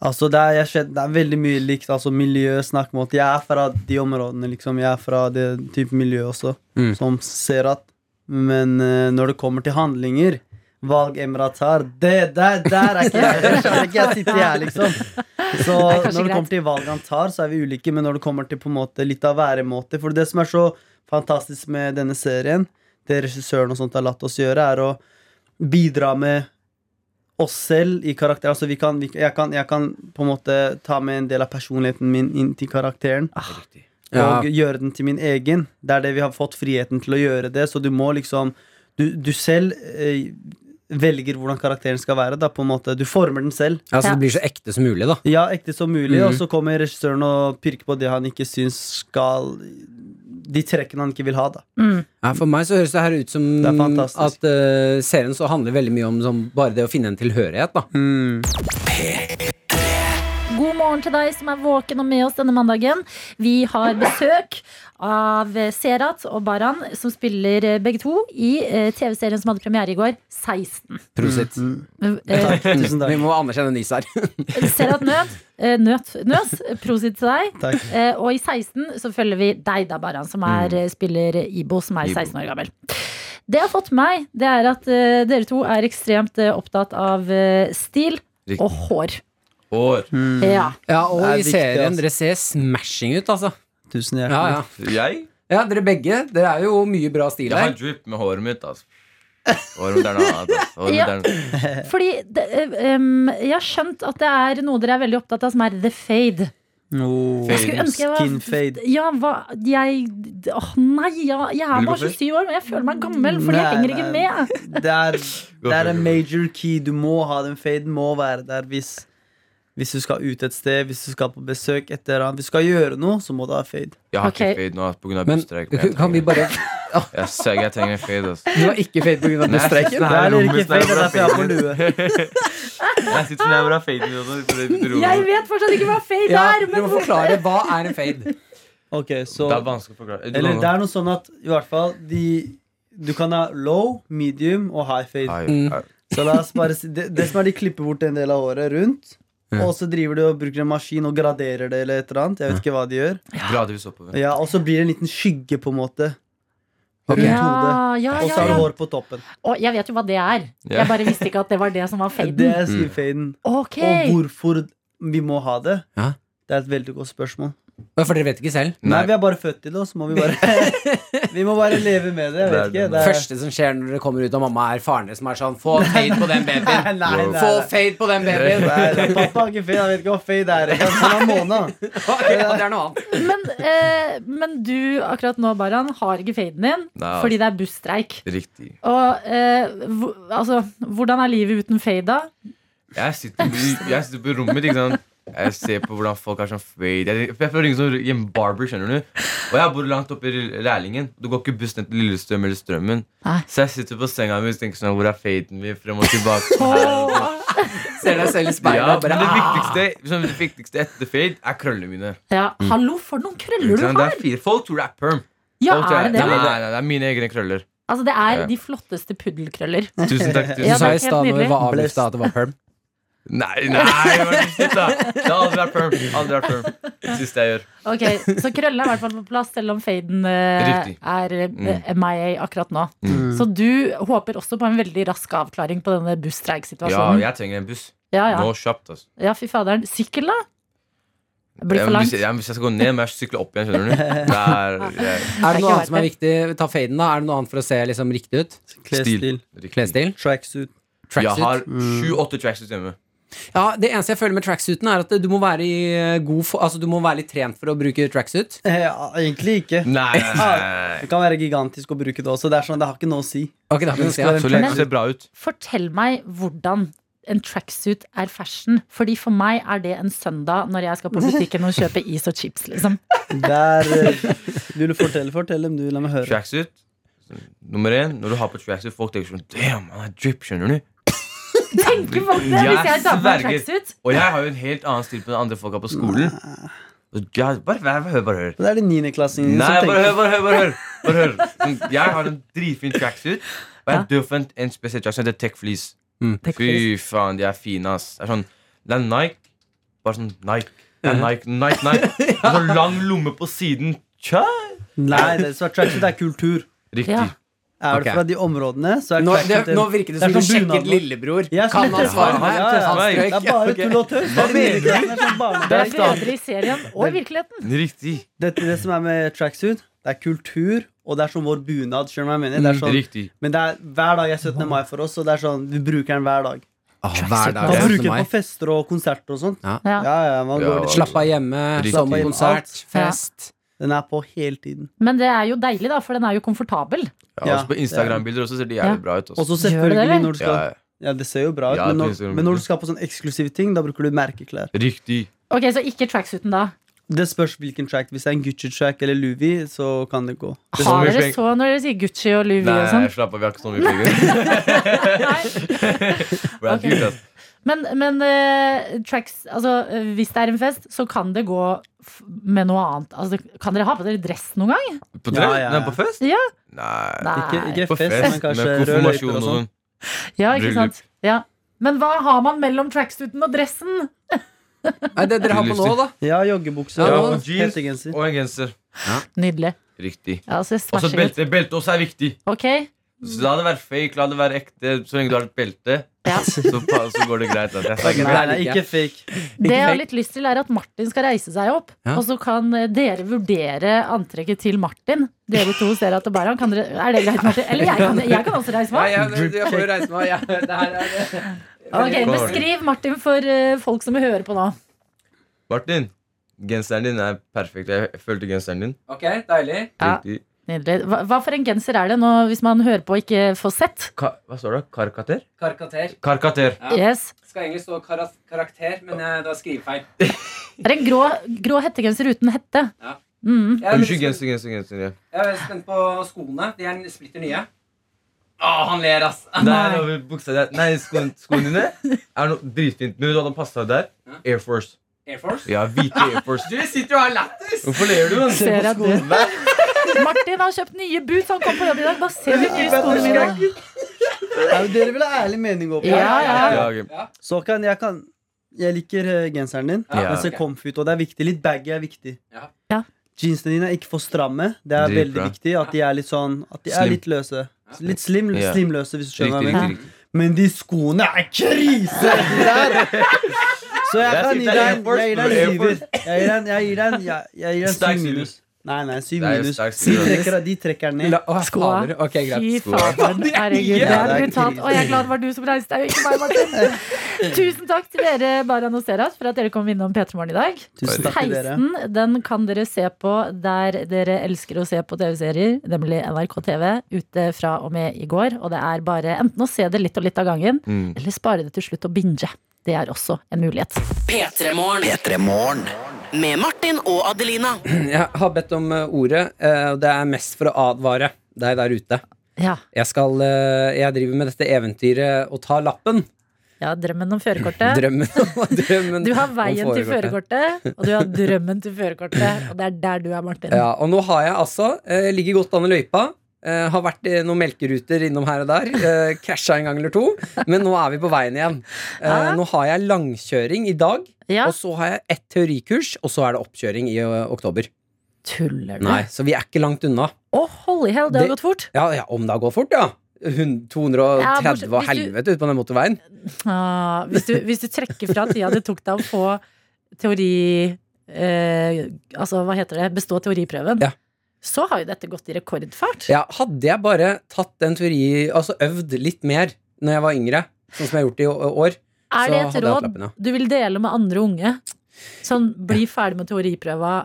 S10: Altså, det er, jeg skjønner, det er veldig mye likt. altså Miljø, snakkmåte. Jeg er fra de områdene, liksom. Jeg er fra det type miljø også,
S3: Mm.
S10: som ser at Men eh, når det kommer til handlinger Valg Emra tar Det der, der er ikke jeg! Jeg skjønner ikke, jeg sitter her, liksom.
S2: Det
S10: Så
S2: er kanskje
S10: når det
S2: greit.
S10: kommer til valg han tar, så er vi ulike, men når det kommer til på en måte litt av væremåte For det som er så fantastisk med denne serien, det regissøren og sånt har latt oss gjøre, er å bidra med oss selv i karakter. Altså vi kan, vi, jeg, kan, jeg kan på en måte ta med en del av personligheten min inn til karakteren
S9: Det er riktig.
S3: Ah. Ja.
S10: og gjøre den til min egen. Det er det vi har fått friheten til å gjøre det, så du må liksom Du, du selv eh, velger hvordan karakteren skal være, da, på en måte. Du former den selv.
S3: Ja, så altså, det blir så ekte som mulig, da.
S10: Ja, ekte som mulig,
S3: Mhm.
S10: og så kommer regissøren og pirker på det han ikke syns skal De trekkene han ikke vil ha, da.
S2: Mm.
S3: Ja, for meg så høres det her ut som
S10: Det er fantastisk.
S3: at eh, serien så handler veldig mye om sånn, bare det å finne en tilhørighet, da.
S10: Mm.
S2: God morgen til deg som er våken og med oss denne mandagen. Vi har besøk av eh, Serat og Baran, som spiller eh, begge to i eh, TV-serien som hadde premiere i går, 16.
S3: Prosit.
S2: Eh,
S10: Takk, Mm,
S3: Vi
S10: tusen takk.
S3: må anerkjenne Nis her.
S2: Serat Nød, eh, Nøt, Nøs, prosit til deg.
S10: takk.
S2: Eh, og i 16 så følger vi deg da, Baran, som er, eh, spiller Ibo, som er
S9: Mm. Ibo.
S2: 16 år gammel. Det jeg har fått med meg, det er at eh, dere to er ekstremt eh, opptatt av eh, stil
S9: Riktig. Mm.
S2: og hår.
S9: Hår.
S2: Ja.
S3: Ja, og
S10: Det er
S3: i
S10: viktig,
S3: serien,
S10: altså. Mm.
S3: dere ser smashing ut, altså.
S10: Tusen
S3: Ja,
S10: hjertelig.
S3: ja.
S9: Jeg?
S3: ja, dere begge. Dere er jo mye bra stil
S9: Jeg har
S3: her.
S9: drip med håret mitt, altså. Håret mitt er noe annet, altså. Håret mitt er noe
S2: Fordi det, eh, em, jeg har skjønt at det er noe dere er veldig opptatt av, som er the fade.
S10: Oh.
S9: Jeg
S2: skulle ønske jeg var-
S10: Skin fade.
S2: Ja, hva Jeg Åh, nei! ja, jeg er
S9: Vil du gå
S2: bare
S9: først?
S2: 27 år, men jeg føler meg gammel, fordi jeg
S10: Nei,
S2: henger ikke
S10: nei.
S2: med.
S10: Det er, det er en major key. Du må ha den faden, må være der hvis, hvis du skal ut et sted, hvis du skal på besøk, et eller annet. Hvis du skal gjøre noe, så må du ha fade.
S9: Jeg har
S2: Ok.
S9: ikke fade nå altså, pga.
S3: Men
S9: busstreik. men jeg
S3: kan vi
S9: trenger-
S3: bare
S9: Jeg ser jeg trenger en fade, altså.
S3: Du har ikke fade pga.
S9: Nei,
S3: busstreiken?
S9: nei,
S10: Det er
S9: rommet
S10: ikke
S9: snakker
S10: fade,
S9: om
S10: det er derfor jeg har på lue.
S9: Jeg sitter sånn her hvor jeg har fade nå, for det er
S2: Jeg vet fortsatt ikke hva fade
S3: Ja,
S2: er,
S3: dere
S2: men
S3: må forklare. Hva er en fade?
S10: Ok, så
S9: Det er vanskelig å forklare. Du
S10: Eller
S9: kan-
S10: det er noe sånn at i hvert fall de Du kan ha low, medium og high fade.
S9: Ai,
S3: Mm.
S9: ai.
S10: Så la oss bare si Det, det som er de klipper bort en del av håret rundt,
S3: Ja.
S10: og så driver de og bruker en maskin og graderer det eller et eller annet. Jeg vet ikke hva de gjør.
S9: Gradvis oppover.
S10: Ja, Og så blir det en liten skygge, på en måte. Rundt hodet.
S2: Ja, ja,
S10: Og så
S2: ja,
S10: har du
S2: ja.
S10: hår på toppen.
S2: Og jeg vet jo hva det er.
S9: Ja.
S2: Jeg bare visste ikke at det var det som var
S10: Det
S2: faden.
S10: er syfaden.
S2: Ok,
S10: Og hvorfor vi må ha det.
S3: Ja.
S10: Det er et veldig godt spørsmål.
S3: For dere vet ikke selv?
S10: Nei, vi er bare født til det, og så må vi bare Vi må bare leve med det. Jeg vet ikke. Det er,
S3: første som skjer når dere kommer ut av mamma, er faren din som er sånn Få fade på den babyen!
S10: Nei, nei, nei,
S3: Få
S10: nei.
S3: fade på den babyen!
S10: Nei, nei, pappa har ikke fade. Han vet ikke hva fade er. engang. Han er Mona.
S3: Ok, ja, det er noe annet.
S2: Men, eh, men du akkurat nå, Baran, har ikke faden din
S9: Nei.
S2: fordi det er busstreik.
S9: Riktig.
S2: Og eh, hvor, altså, hvordan er livet uten fade, da?
S9: Jeg sitter, i- jeg sitter på rommet mitt, ikke sant. Jeg ser på hvordan folk har sånn fade. Jeg, jeg prøver å ringe sånn hjemme barber, skjønner du. Og jeg bor langt oppe i Lærlingen. Det går ikke buss ned til Lillestrøm eller Strømmen.
S2: Nei.
S9: Så jeg sitter på senga mi og tenker sånn Hvor er faden min? Frem og tilbake.
S3: Ser deg selv i speilet
S9: Ja,
S3: og
S9: men
S3: bare
S9: det
S3: ah.
S9: viktigste, liksom, det viktigste etter fade er krøllene mine.
S2: Ja, hallo, for noen krøller
S9: Mm. Ikke
S2: du
S9: sant? Det
S2: har!
S9: er fire. Folk tror det er perm.
S2: Ja,
S9: Folk tror
S2: er det
S9: Nei,
S2: det?
S9: nei, nei, det er mine egne krøller.
S2: Altså, det er
S9: Ja.
S2: de flotteste puddelkrøller.
S9: Tusen takk.
S3: Du
S9: Tusen
S2: Ja,
S9: takk.
S3: sa i
S2: det er
S3: stad
S2: helt
S3: når vi var
S10: nydelig.
S3: avlufta, at det var perm.
S9: Nei, nei, det var ikke slutt, da. Det har aldri vært perm. Aldri vært perm. Det siste jeg gjør.
S2: Ok, Så krøllene er i hvert fall på plass, selv om faden eh,
S9: Riktig.
S2: er eh,
S9: Mm.
S2: MIA akkurat nå.
S9: Mm.
S2: Så du håper også på en veldig rask avklaring på denne
S9: Ja,
S2: busstreiksituasjonen?
S9: jeg trenger en buss.
S2: Ja, ja.
S9: Nå kjapt, altså.
S2: ja, fy faderen. Sykkel, da? Det blir
S9: Ja,
S2: for
S9: men hvis,
S2: langt.
S9: jeg, ja, men hvis jeg skal gå ned, må jeg sykle opp igjen, skjønner du. Det er, jeg,
S3: Er det
S2: ikke
S3: noe
S2: verdt
S3: annet som er viktig? Ta faden, da. Er det noe annet for å se liksom riktig ut?
S10: Klesstil.
S9: Riktig.
S3: Klesstil?
S10: Tracksuit.
S9: Jeg har
S3: Tracksuit?
S9: sju-åtte tracksuits hjemme.
S3: Ja, det eneste jeg føler med tracksuiten, er at du må være i eh, god fo altså, du må være litt trent for å bruke tracksuit.
S10: Eh, Ja, egentlig ikke.
S9: Nei, nei, nei,
S10: Det kan være gigantisk å bruke det også. Det er sånn, det har ikke noe å si.
S3: Ok, da kan du si
S9: nei.
S3: at
S9: Så lenge det ser bra ut.
S2: Fortell meg hvordan en tracksuit er fashion. Fordi for meg er det en søndag når jeg skal på butikken og kjøpe is og chips, liksom.
S10: Der eh, Du vil fortelle, fortell dem, du. La meg høre.
S9: Tracksuit nummer én. Når du har på tracksuit, folk tenker sånn Damn, han er drip, skjønner du.
S2: Tenker folk det
S9: Jeg
S2: hvis jeg tar på meg
S9: sverger.
S2: tracksuit?
S9: Og jeg har jo en helt annen stil på den andre folka på skolen. Og jeg- Bare vær- bare hør, bare hør.
S10: Men Det er de niendeklassingene
S9: Nei,
S10: som
S9: bare hør,
S10: tenker
S9: bare hør, bare hør. Bare hør. Sånn, Jeg har en dritfin tracksuit. Og jeg er død for en, en spesiell tracksuit. Det er Tech Fleece. Fy faen, de er fine, ass. Det er sånn, det er Nike. Bare sånn Nike, det er Nike, Nike, Nike. Og så lang lomme på siden. Tja!
S10: Nei, det er, tracksuit er kultur.
S9: Riktig.
S2: Ja.
S10: Er du
S3: Ok.
S10: fra de områdene, så er
S3: nå, det,
S10: tracksuit en-
S3: nå virker det
S10: er
S3: som du
S10: sånn
S3: sjekket
S10: bunad nå.
S3: lillebror. Kan
S10: Jeg skulle
S3: han
S10: teste
S3: svaret
S10: meg.
S3: her?
S10: Ja, ja.
S3: Han strøk.
S10: Det er bare tull og tøs. Hva mener du? Det er sånn barne-
S2: Det er bedre i serien og i virkeligheten.
S9: Riktig.
S10: Dette det som er med tracksuit, det er kultur, og det er som vår bunad. Skjønner du hva jeg mener? Det er sånn,
S9: Mm, Riktig.
S10: men det er hver dag er 17. mai for oss, og det er sånn, vi bruker den hver dag.
S3: Å, hver dag
S10: Man
S3: er
S10: bruker
S3: 17.
S10: den
S3: mai.
S10: på fester og konserter og sånt.
S3: Ja.
S2: Ja.
S10: Ja, ja, man
S9: Ja.
S10: går dit.
S3: Slapp av hjemme,
S9: Riktig.
S3: sommerkonsert,
S2: Ja.
S3: fest.
S10: Den er på hele tiden.
S2: Men det er jo deilig, da, for den er jo komfortabel.
S9: Ja, også på Instagram-bilder også ser de jævlig bra ut.
S10: Og
S9: Også.
S10: så
S2: Gjør det,
S10: selvfølgelig
S2: eller?
S10: når du
S9: Ja,
S10: skal Ja, det ser jo bra ut,
S9: Ja,
S10: men
S9: på
S10: når,
S9: Instagram.
S10: men når du skal på sånn eksklusive ting, da bruker du merkeklær.
S9: riktig.
S2: Ok, Så ikke tracksuiten, da.
S10: Det spørs hvilken track. Hvis det er en Gucci-track eller Louis, så kan det gå.
S9: Det er så
S2: Har
S9: mye
S2: dere
S9: penger.
S2: så når dere sier Gucci og Louis og sånn?
S9: Nei, slapp av, vi har ikke så mye penger.
S2: Nei.
S9: Det er
S2: Ok.
S9: dyrt, ass.
S2: Men, men eh, tracks Altså, eh, hvis det er en fest, så kan det gå f med noe annet. Altså, det- kan dere ha på dere dress noen gang?
S9: På
S10: Ja,
S9: tre?
S10: ja,
S9: Nei,
S10: ja.
S9: på fest?
S2: Ja.
S9: Nei.
S2: Nei.
S10: Ikke, ikke
S9: På
S10: fest,
S9: fest,
S10: men kanskje
S9: med
S10: røde løyper
S9: konfirmasjon
S10: og
S9: og sånn.
S10: sånn.
S2: Ja, ikke
S9: Bryllup.
S2: sant? Ja. Men hva har man mellom tracksuiten og dressen?
S3: Nei, det dere har på nå, da?
S10: Ja, joggebukse
S3: Ja,
S10: og
S9: og jeans.
S10: hettegenser.
S9: Og en genser.
S2: Nydelig.
S9: Riktig.
S2: Ja, så
S9: Og så
S2: smasher ut.
S9: belte. Belte også er viktig.
S2: Ok,
S9: Så la det være fake, la det være ekte. Så lenge du har et belte,
S2: Ja.
S9: så, pa- så går det greit. ass. Jeg sa ikke
S10: Nei,
S9: det.
S10: nei, ikke fake.
S2: Det jeg har
S3: fake.
S2: litt lyst til, er at Martin skal reise seg opp.
S3: Ja.
S2: Og så kan eh, dere vurdere antrekket til Martin. Dere to ser at det bare han kan dere, Er det greit, Martin? Eller jeg kan, jeg kan også reise
S3: Nei,
S2: meg opp.
S3: jeg, jeg får jo reise meg. Jeg, det her er
S2: Ok, Beskriv Martin for eh, folk som hører på nå.
S9: Martin, genseren din er perfekt. Jeg følte genseren din.
S3: Ok, deilig.
S2: Ja.
S9: Riktig.
S2: Nydelig. Hva, hva for en genser er det nå, hvis man hører på og ikke får sett?
S9: Ka hva står det? Karkater?
S3: Karkater.
S9: Karkater.
S3: Ja.
S2: Yes.
S3: Skal egentlig stå karas- karakter, men jeg, det var skrivefeil.
S2: Det er en grå, grå hettegenser uten hette.
S3: Ja.
S2: Mm.
S3: Jeg er,
S9: Unnskyld,
S3: litt spent,
S9: genser, genser, genser. Ja.
S3: jeg er veldig spent på skoene. De er splitter nye. Å, han ler, ass.
S9: Der har vi buksa der. Nei, skoene, skoene dine er noe dritfint. Men vet du hva den passa der? Air Force.
S3: Air Force.
S9: Ja, hvite Air Force.
S3: Du sitter jo og har lættis!
S9: Hvorfor ler du? ass?
S2: Ser at du Martin har kjøpt nye boots, han kom på jobb i dag. Bare se hvor nye skoene mine er.
S10: Ja, men dere vil ha ærlig mening om
S2: Ja, ja.
S9: Ja, ok.
S10: Så kan jeg kan Jeg liker eh, genseren din.
S9: Ja.
S10: Den ser comfy ut, og det er viktig. Litt baggy er viktig.
S3: Ja.
S2: Ja.
S10: Jeansene dine er ikke for stramme. Det er
S9: Dritbra.
S10: veldig viktig at de er litt sånn At de
S9: Slim.
S10: er litt løse. Litt slim,
S9: Ja.
S10: slimløse, hvis du skjønner
S9: Riktig,
S10: hva jeg
S9: riktig,
S10: mener.
S9: riktig.
S10: Men de skoene er krise! De der! Så jeg
S11: Jeg
S10: kan
S11: sier
S10: gi
S11: det er
S10: deg
S11: Air Force,
S10: Jeg gir
S11: Air
S10: deg en syver.
S11: Force.
S10: Jeg gir den- jeg gir den jeg- jeg gir den
S11: Sterk
S10: syv minus. Nei, nei, syv
S11: Det er jo
S10: minus.
S11: sterk
S10: De
S11: syver.
S10: trekker, de trekker ned.
S3: La- åh, fader. Ok, greit.
S2: Fy
S3: Skål.
S2: faen, herregud, det
S3: Ja,
S2: er
S3: det er
S2: brutalt.
S3: krise.
S2: Og jeg er glad det var du som reiste deg, og ikke meg, Martin. Tusen takk til dere, Baran og Seras, for at dere kom innom P3 Morgen i dag.
S10: Tusen takk til dere.
S2: 16, den kan dere se på der dere elsker å se på TV-serier, nemlig NRK TV, ute fra og med i går. Og det er bare enten å se det litt og litt av gangen,
S4: Mm.
S2: eller spare det til slutt og binge. Det er også en mulighet.
S5: P3morgen. Med Martin og Adelina.
S3: Jeg har bedt om eh, ordet, eh, og det er mest for å advare deg der ute.
S2: Ja.
S3: Jeg, skal, eh, jeg driver med dette eventyret å ta lappen.
S2: Ja, drømmen om førerkortet.
S3: Drømmen, drømmen
S2: Du har
S3: om
S2: veien til førerkortet, og du har drømmen til førerkortet. Og det er der du er, Martin.
S3: Ja, og nå har jeg altså eh, Ligger godt an i løypa eh, Har vært i noen melkeruter innom her og der eh, Krasja en gang eller to Men nå er vi på veien igjen eh,
S2: Ja.
S3: Nå har jeg langkjøring i dag Og så har jeg ett teorikurs Og så er det oppkjøring i eh, oktober
S2: Tuller
S3: du? Nei, så vi er ikke langt unna
S2: Å, holy hell, det har gått fort.
S3: Ja, ja om det har gått fort, ja Hun- 230
S2: Ja, bortsett-
S3: og
S2: hvis du-
S3: helvete ut på den motorveien
S2: Ah, hvis, du, hvis du trekker fra tida det tok deg å få teori eh, Altså, hva heter det? Bestå teoriprøven. Så har jo dette gått i rekordfart.
S3: Ja, hadde jeg bare tatt den teori Altså øvd litt mer Når jeg var yngre, sånn som jeg har gjort i å- år
S2: Er
S3: så
S2: det et
S3: hadde jeg hatt
S2: råd
S3: lappen, ja.
S2: du vil dele med andre unge? Sånn, bli ferdig med teoriprøva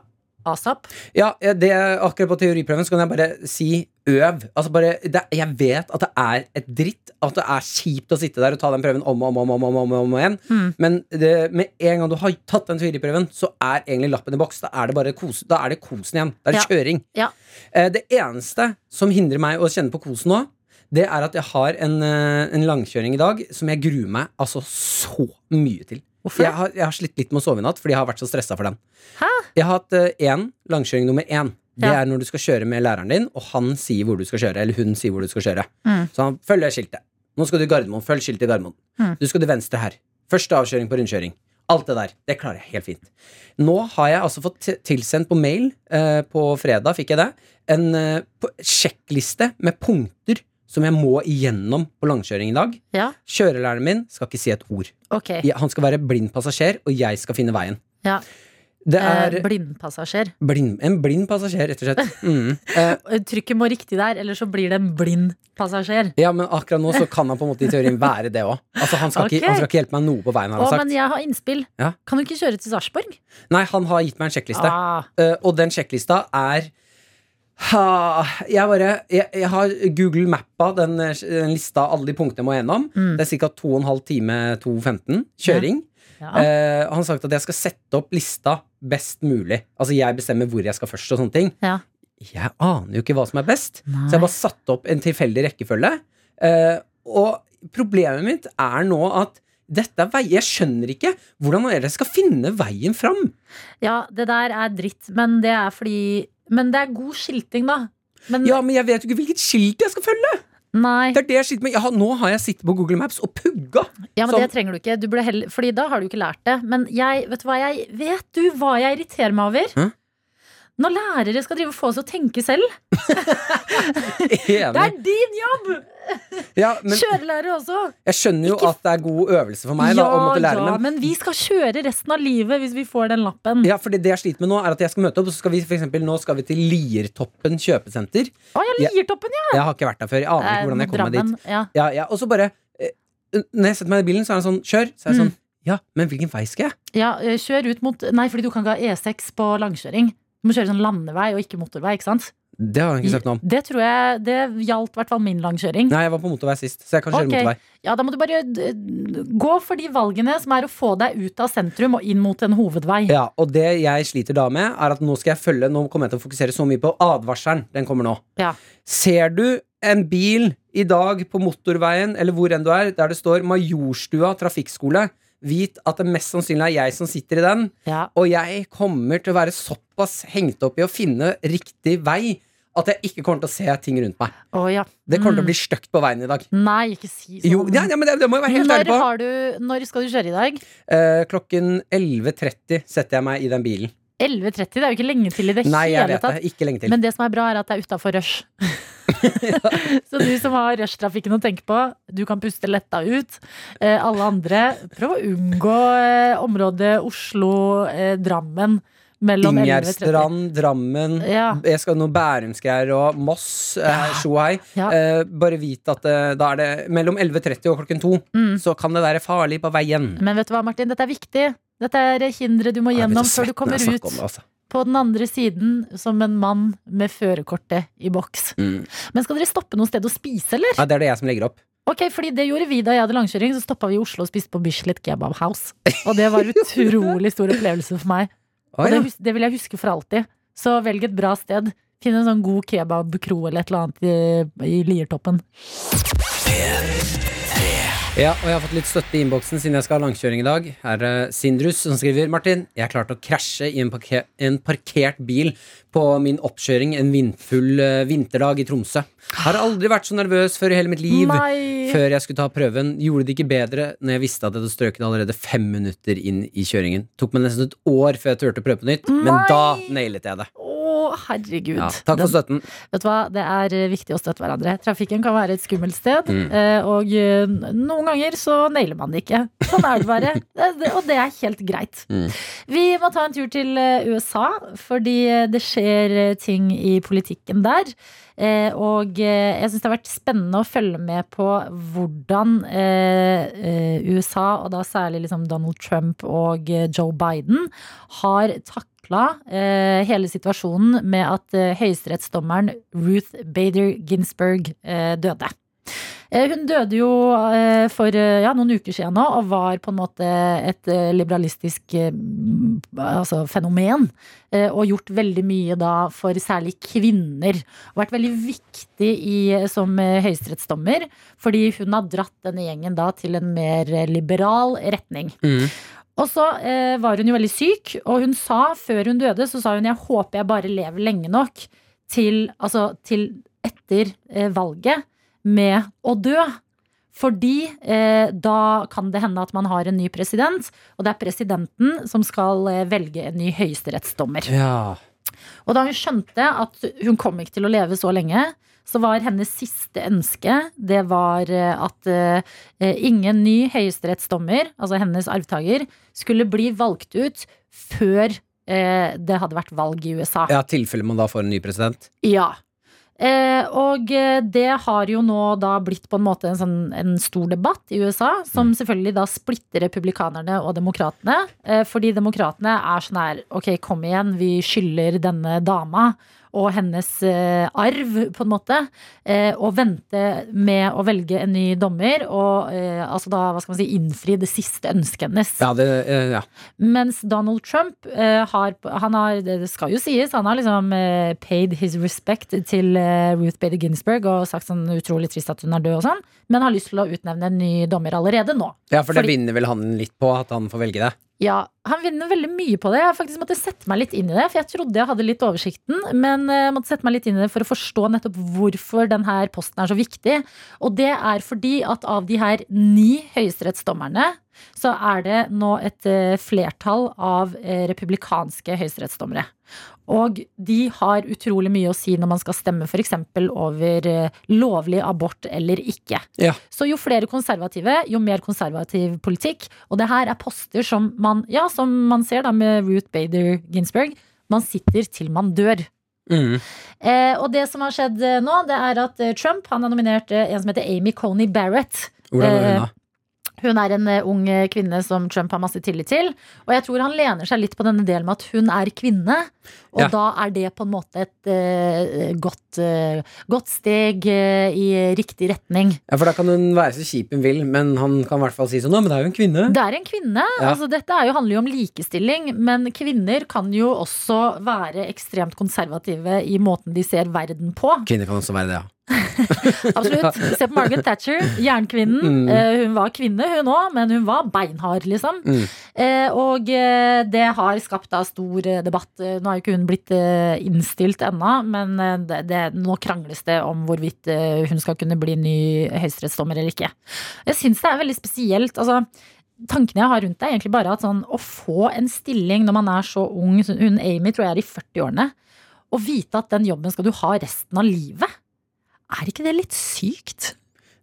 S2: asap.
S3: Ja, det, akkurat på teoriprøven så kan jeg bare si øv. Altså bare, det, jeg vet at det er et dritt. At det er kjipt å sitte der og ta den prøven om og om, og om, og om, og om igjen.
S2: Mm.
S3: Men det, med en gang du har tatt den teoriprøven, så er egentlig lappen i boks. Da er det bare kos, da er det kosen igjen. Da er det
S2: Ja.
S3: kjøring.
S2: Ja.
S3: Eh, Det eneste som hindrer meg å kjenne på kosen nå, det er at jeg har en, eh, en langkjøring i dag som jeg gruer meg altså så mye til.
S2: Hvorfor?
S3: Jeg har, jeg har slitt litt med å sove i natt fordi jeg har vært så stressa for den.
S2: Hæ?
S3: Jeg har hatt én langkjøring nummer én. Det
S2: Ja.
S3: er når du skal kjøre med læreren din, og han sier hvor du skal kjøre. Eller hun sier hvor du skal kjøre.
S2: Mm.
S3: Så han følger skiltet. Nå skal du i Gardermoen. Følg skiltet i Gardermoen.
S2: Mm.
S3: Du skal til venstre her. Første avkjøring på rundkjøring. Alt det der. Det klarer jeg helt fint. Nå har jeg altså fått t- tilsendt på mail, eh, på fredag fikk jeg det, en eh, på- sjekkliste med punkter som jeg må igjennom på langkjøring i dag.
S2: Ja,
S3: Kjørelæreren min skal ikke si et ord.
S2: ok.
S3: Jeg- Han skal være blind passasjer, og jeg skal finne veien.
S2: Ja.
S3: Det
S2: Eh,
S3: er
S2: Blindpassasjer.
S3: blind, en blind passasjer, rett og slett. Mm. Eh,
S2: Trykket må riktig der, eller så blir det en blind passasjer.
S3: Ja, men akkurat nå så kan han på en måte i teorien være det òg. Altså, han, skal
S2: Ok.
S3: ikke- han skal ikke hjelpe meg noe på veien, har
S2: Å,
S3: han sagt.
S2: men jeg har innspill.
S3: Ja.
S2: Kan du ikke kjøre til Sarpsborg?
S3: Nei, han har gitt meg en sjekkliste.
S2: Ah.
S3: Eh, og den sjekklista er ha, jeg, bare, jeg, jeg har Google mappa den, eh, den lista alle de punktene jeg må gjennom.
S2: Mm.
S3: Det er ca. 2,5 time 2.15 kjøring.
S2: Ja.
S3: Eh, han har sagt at jeg skal sette opp lista best mulig. Altså jeg bestemmer hvor jeg skal først. og sånne ting
S2: Ja.
S3: Jeg aner jo ikke hva som er best, så jeg bare satte opp en tilfeldig rekkefølge. Eh, og problemet mitt er nå at dette er vei Jeg skjønner ikke hvordan dere skal finne veien fram.
S2: ja, det der er dritt, men det er fordi Men det er god skilting, da. Men,
S3: Ja, men jeg vet jo ikke hvilket skilt jeg skal følge!
S2: Nei.
S3: Det er det jeg sliter med. Jeg har, nå har jeg sittet på Google Maps og pugga.
S2: Ja, men
S3: som-
S2: det trenger du ikke. Du burde heller, fordi da har du ikke lært det. Men jeg, vet du hva jeg Vet du hva jeg irriterer meg over?
S3: Hæ?
S2: Når lærere skal drive og få oss til å tenke selv. Det er
S3: Enig.
S2: din jobb!
S3: Ja, men
S2: Kjørelærere også.
S3: jeg skjønner jo at det er god øvelse for meg da, å måtte lære
S2: ja,
S3: dem.
S2: men vi skal kjøre resten av livet hvis vi får den lappen.
S3: Ja, for det jeg sliter med nå, er at jeg skal møte opp, og så skal vi for eksempel, nå skal vi til Liertoppen kjøpesenter.
S2: Å, jeg liker toppen, ja!
S3: Jeg har ikke vært der før. Jeg aner ikke hvordan jeg kommer meg
S2: Drammen,
S3: dit.
S2: Ja.
S3: Ja, ja, og så bare eh, Når jeg setter meg i bilen, så er det sånn Kjør! Så er jeg
S2: Mm.
S3: sånn Ja, men hvilken vei skal jeg?
S2: Ja, eh, kjør ut mot Nei, fordi du kan ikke ha E6 på langkjøring. Du må kjøre sånn landevei og ikke motorvei, ikke sant?
S3: Det har
S2: Mm.
S3: han ikke sagt noe om.
S2: Det tror jeg Det gjaldt i hvert fall min langkjøring.
S3: Nei, jeg var på motorvei sist, så jeg kan kjøre
S2: Ok.
S3: motorvei.
S2: Ja, da må du bare eh, gå for de valgene som er å få deg ut av sentrum og inn mot en hovedvei.
S3: Ja, og det jeg sliter da med, er at nå skal jeg følge Nå kommer jeg til å fokusere så mye på advarselen. Den kommer nå.
S2: Ja.
S3: Ser du en bil i dag på motorveien eller hvor enn du er, der det står Majorstua trafikkskole, vit at det mest sannsynlig er jeg som sitter i den,
S2: Ja.
S3: og jeg kommer til å være såpass hengt opp i å finne riktig vei at jeg ikke kommer til å se ting rundt meg.
S2: Å, ja.
S3: Det kommer til
S2: Mm.
S3: å bli støkt på veien i dag.
S2: Nei, ikke si sånn.
S3: Jo, ja, ja, men det, det må jeg være helt
S2: når,
S3: ærlig på.
S2: har du, når skal du kjøre i dag?
S3: Eh, klokken 11.30 setter jeg meg i den bilen.
S2: 11.30? Det er jo ikke lenge til i det
S3: Nei, jeg
S2: hele
S3: vet
S2: tatt.
S3: det. Ikke lenge til.
S2: Men det som er bra, er at det er utafor rush. Så du som har rushtrafikken å tenke på, du kan puste letta ut. Eh, alle andre, prøv å unngå eh, området Oslo-Drammen mellom 11.30.
S3: Ingjerdstrand, Drammen
S2: Ja.
S3: Jeg skal noe Bærumsgreier og Moss. eh, Sjo hei.
S2: Ja.
S3: Eh, bare vit at eh, da er det mellom 11.30 og klokken 2
S2: Mm.
S3: så kan det være farlig på veien.
S2: Men vet du hva, Martin, dette er viktig. Dette er hinderet du må
S3: Jeg blir
S2: gjennom
S3: så
S2: før du
S3: svett når
S2: kommer
S3: jeg
S2: ut
S3: snakker om det, altså.
S2: på den andre siden som en mann med førerkortet i boks.
S3: Mm.
S2: Men skal dere stoppe noe sted å spise, eller?
S3: Ja, det er det jeg som legger opp.
S2: Ok, fordi det gjorde vi da jeg hadde langkjøring. Så stoppa vi i Oslo og spiste på Bislett Kebab House. Og det var utrolig stor opplevelse for meg.
S3: Å,
S2: Og det,
S3: ja.
S2: hus- det vil jeg huske for alltid. Så velg et bra sted. Finn en sånn god kebabkro eller et eller annet i, i Liertoppen.
S3: Ja, og jeg har fått litt støtte i innboksen siden jeg skal ha langkjøring i dag. Her er eh, Sindrus som skriver Martin, jeg klarte å krasje i en, parke en parkert bil på min oppkjøring en vindfull eh, vinterdag i Tromsø. Har aldri vært så nervøs før i hele mitt liv.
S2: Nei.
S3: Før jeg skulle ta prøven, gjorde det ikke bedre når jeg visste at jeg hadde strøket allerede fem minutter inn i kjøringen. Tok meg nesten et år før jeg turte å prøve på nytt, men
S2: Nei.
S3: da nailet jeg det.
S2: Å, herregud.
S3: Ja, takk for
S2: Den-
S3: støtten.
S2: Vet du hva, Det er eh, viktig å støtte hverandre. Trafikken kan være et skummelt sted.
S3: Mm.
S2: eh, Og eh, noen ganger så nailer man det ikke. Sånn er det bare. Det- det- Og det er helt greit.
S3: Mm.
S2: Vi må ta en tur til eh, USA, fordi eh, det skjer eh, ting i politikken der. Eh, Og eh, jeg syns det har vært spennende å følge med på hvordan eh, eh, USA, og da særlig liksom Donald Trump og eh, Joe Biden, har takla eh, hele situasjonen med at eh, høyesterettsdommeren Ruth Bader Ginsburg eh, døde. Eh, Hun døde jo eh, for eh, ja, noen uker siden nå, og var på en måte et eh, liberalistisk eh, m, altså, fenomen. eh, Og gjort veldig mye da for særlig kvinner. Og vært veldig viktig i, som eh, høyesterettsdommer, fordi hun har dratt denne gjengen da til en mer eh, liberal retning.
S3: Mm.
S2: Og så eh, var hun jo veldig syk, og hun sa før hun døde, så sa hun jeg håper jeg bare lever lenge nok til, altså, til etter eh, valget med å dø. Fordi eh, da kan det hende at man har en ny president, og det er presidenten som skal eh, velge en ny høyesterettsdommer.
S3: Ja.
S2: Og da hun skjønte at hun kom ikke til å leve så lenge, så var hennes siste ønske det var eh, at eh, ingen ny høyesterettsdommer, altså hennes arvtaker, skulle bli valgt ut før eh, det hadde vært valg i USA.
S3: Ja, tilfelle man da får en ny president.
S2: Ja. Eh, og eh, det har jo nå da blitt på en måte en, sånn, en stor debatt i USA, som selvfølgelig da splitter republikanerne og demokratene. Eh, fordi demokratene er sånn her Ok, kom igjen, vi skylder denne dama og hennes eh, arv, på en måte. Eh, og vente med å velge en ny dommer og eh, altså da, hva skal man si, innfri det siste ønsket hennes.
S3: Ja, det, eh, ja.
S2: Mens Donald Trump eh, har, han har, det skal jo sies, han har liksom eh, paid his respect til eh, Ruth Bader Ginsburg og sagt sånn utrolig trist at hun er død og sånn, men har lyst til å utnevne en ny dommer allerede nå.
S3: ja for det
S2: Fordi-
S3: vinner vel han litt på, at han får velge det.
S2: Ja, han vinner veldig mye på det. Jeg har faktisk måttet sette meg litt inn i det, for jeg trodde jeg hadde litt oversikten, men eh, måtte sette meg litt inn i det for å forstå nettopp hvorfor denne posten er så viktig. Og det er fordi at av de her ni høyesterettsdommerne, så er det nå et eh, flertall av eh, republikanske høyesterettsdommere. Og de har utrolig mye å si når man skal stemme f.eks. over eh, lovlig abort eller ikke.
S3: Ja.
S2: Så jo flere konservative, jo mer konservativ politikk. Og det her er poster som man, ja, som man ser da med Ruth Bader Ginsburg. Man sitter til man dør.
S3: Mm.
S2: Eh, og det som har skjedd eh, nå, det er at eh, Trump han har nominert eh, en som heter Amy Coney Barrett.
S3: Hvordan var
S2: Eh,
S3: hun da?
S2: Hun er en eh, ung eh, kvinne som Trump har masse tillit til. Og jeg tror han lener seg litt på denne delen med at hun er kvinne. Og
S3: Ja.
S2: da er det på en måte et eh, godt, eh, godt steg eh, i riktig retning.
S3: Ja, for da kan hun være så kjip hun vil, men han kan i hvert fall si sånn, «Å, men det er jo en kvinne.
S2: Det er en kvinne.
S3: Ja.
S2: Altså, dette er jo, handler jo om likestilling. Men kvinner kan jo også være ekstremt konservative i måten de ser verden på.
S3: Kvinner kan også være det, ja.
S2: Absolutt. Se på Margaret Thatcher, jernkvinnen.
S3: Mm.
S2: Eh, Hun var kvinne, hun òg, men hun var beinhard, liksom.
S3: Mm.
S2: Eh, Og eh, det har skapt da stor eh, debatt. Eh, Nå har jo ikke hun blitt eh, innstilt ennå, men eh, det, det, nå krangles det om hvorvidt eh, hun skal kunne bli ny høyesterettsdommer eller ikke. Jeg syns det er veldig spesielt. altså Tankene jeg har rundt det, er egentlig bare at sånn, å få en stilling når man er så ung så Hun Amy tror jeg er i 40-årene. Å vite at den jobben skal du ha resten av livet. Er ikke det litt sykt?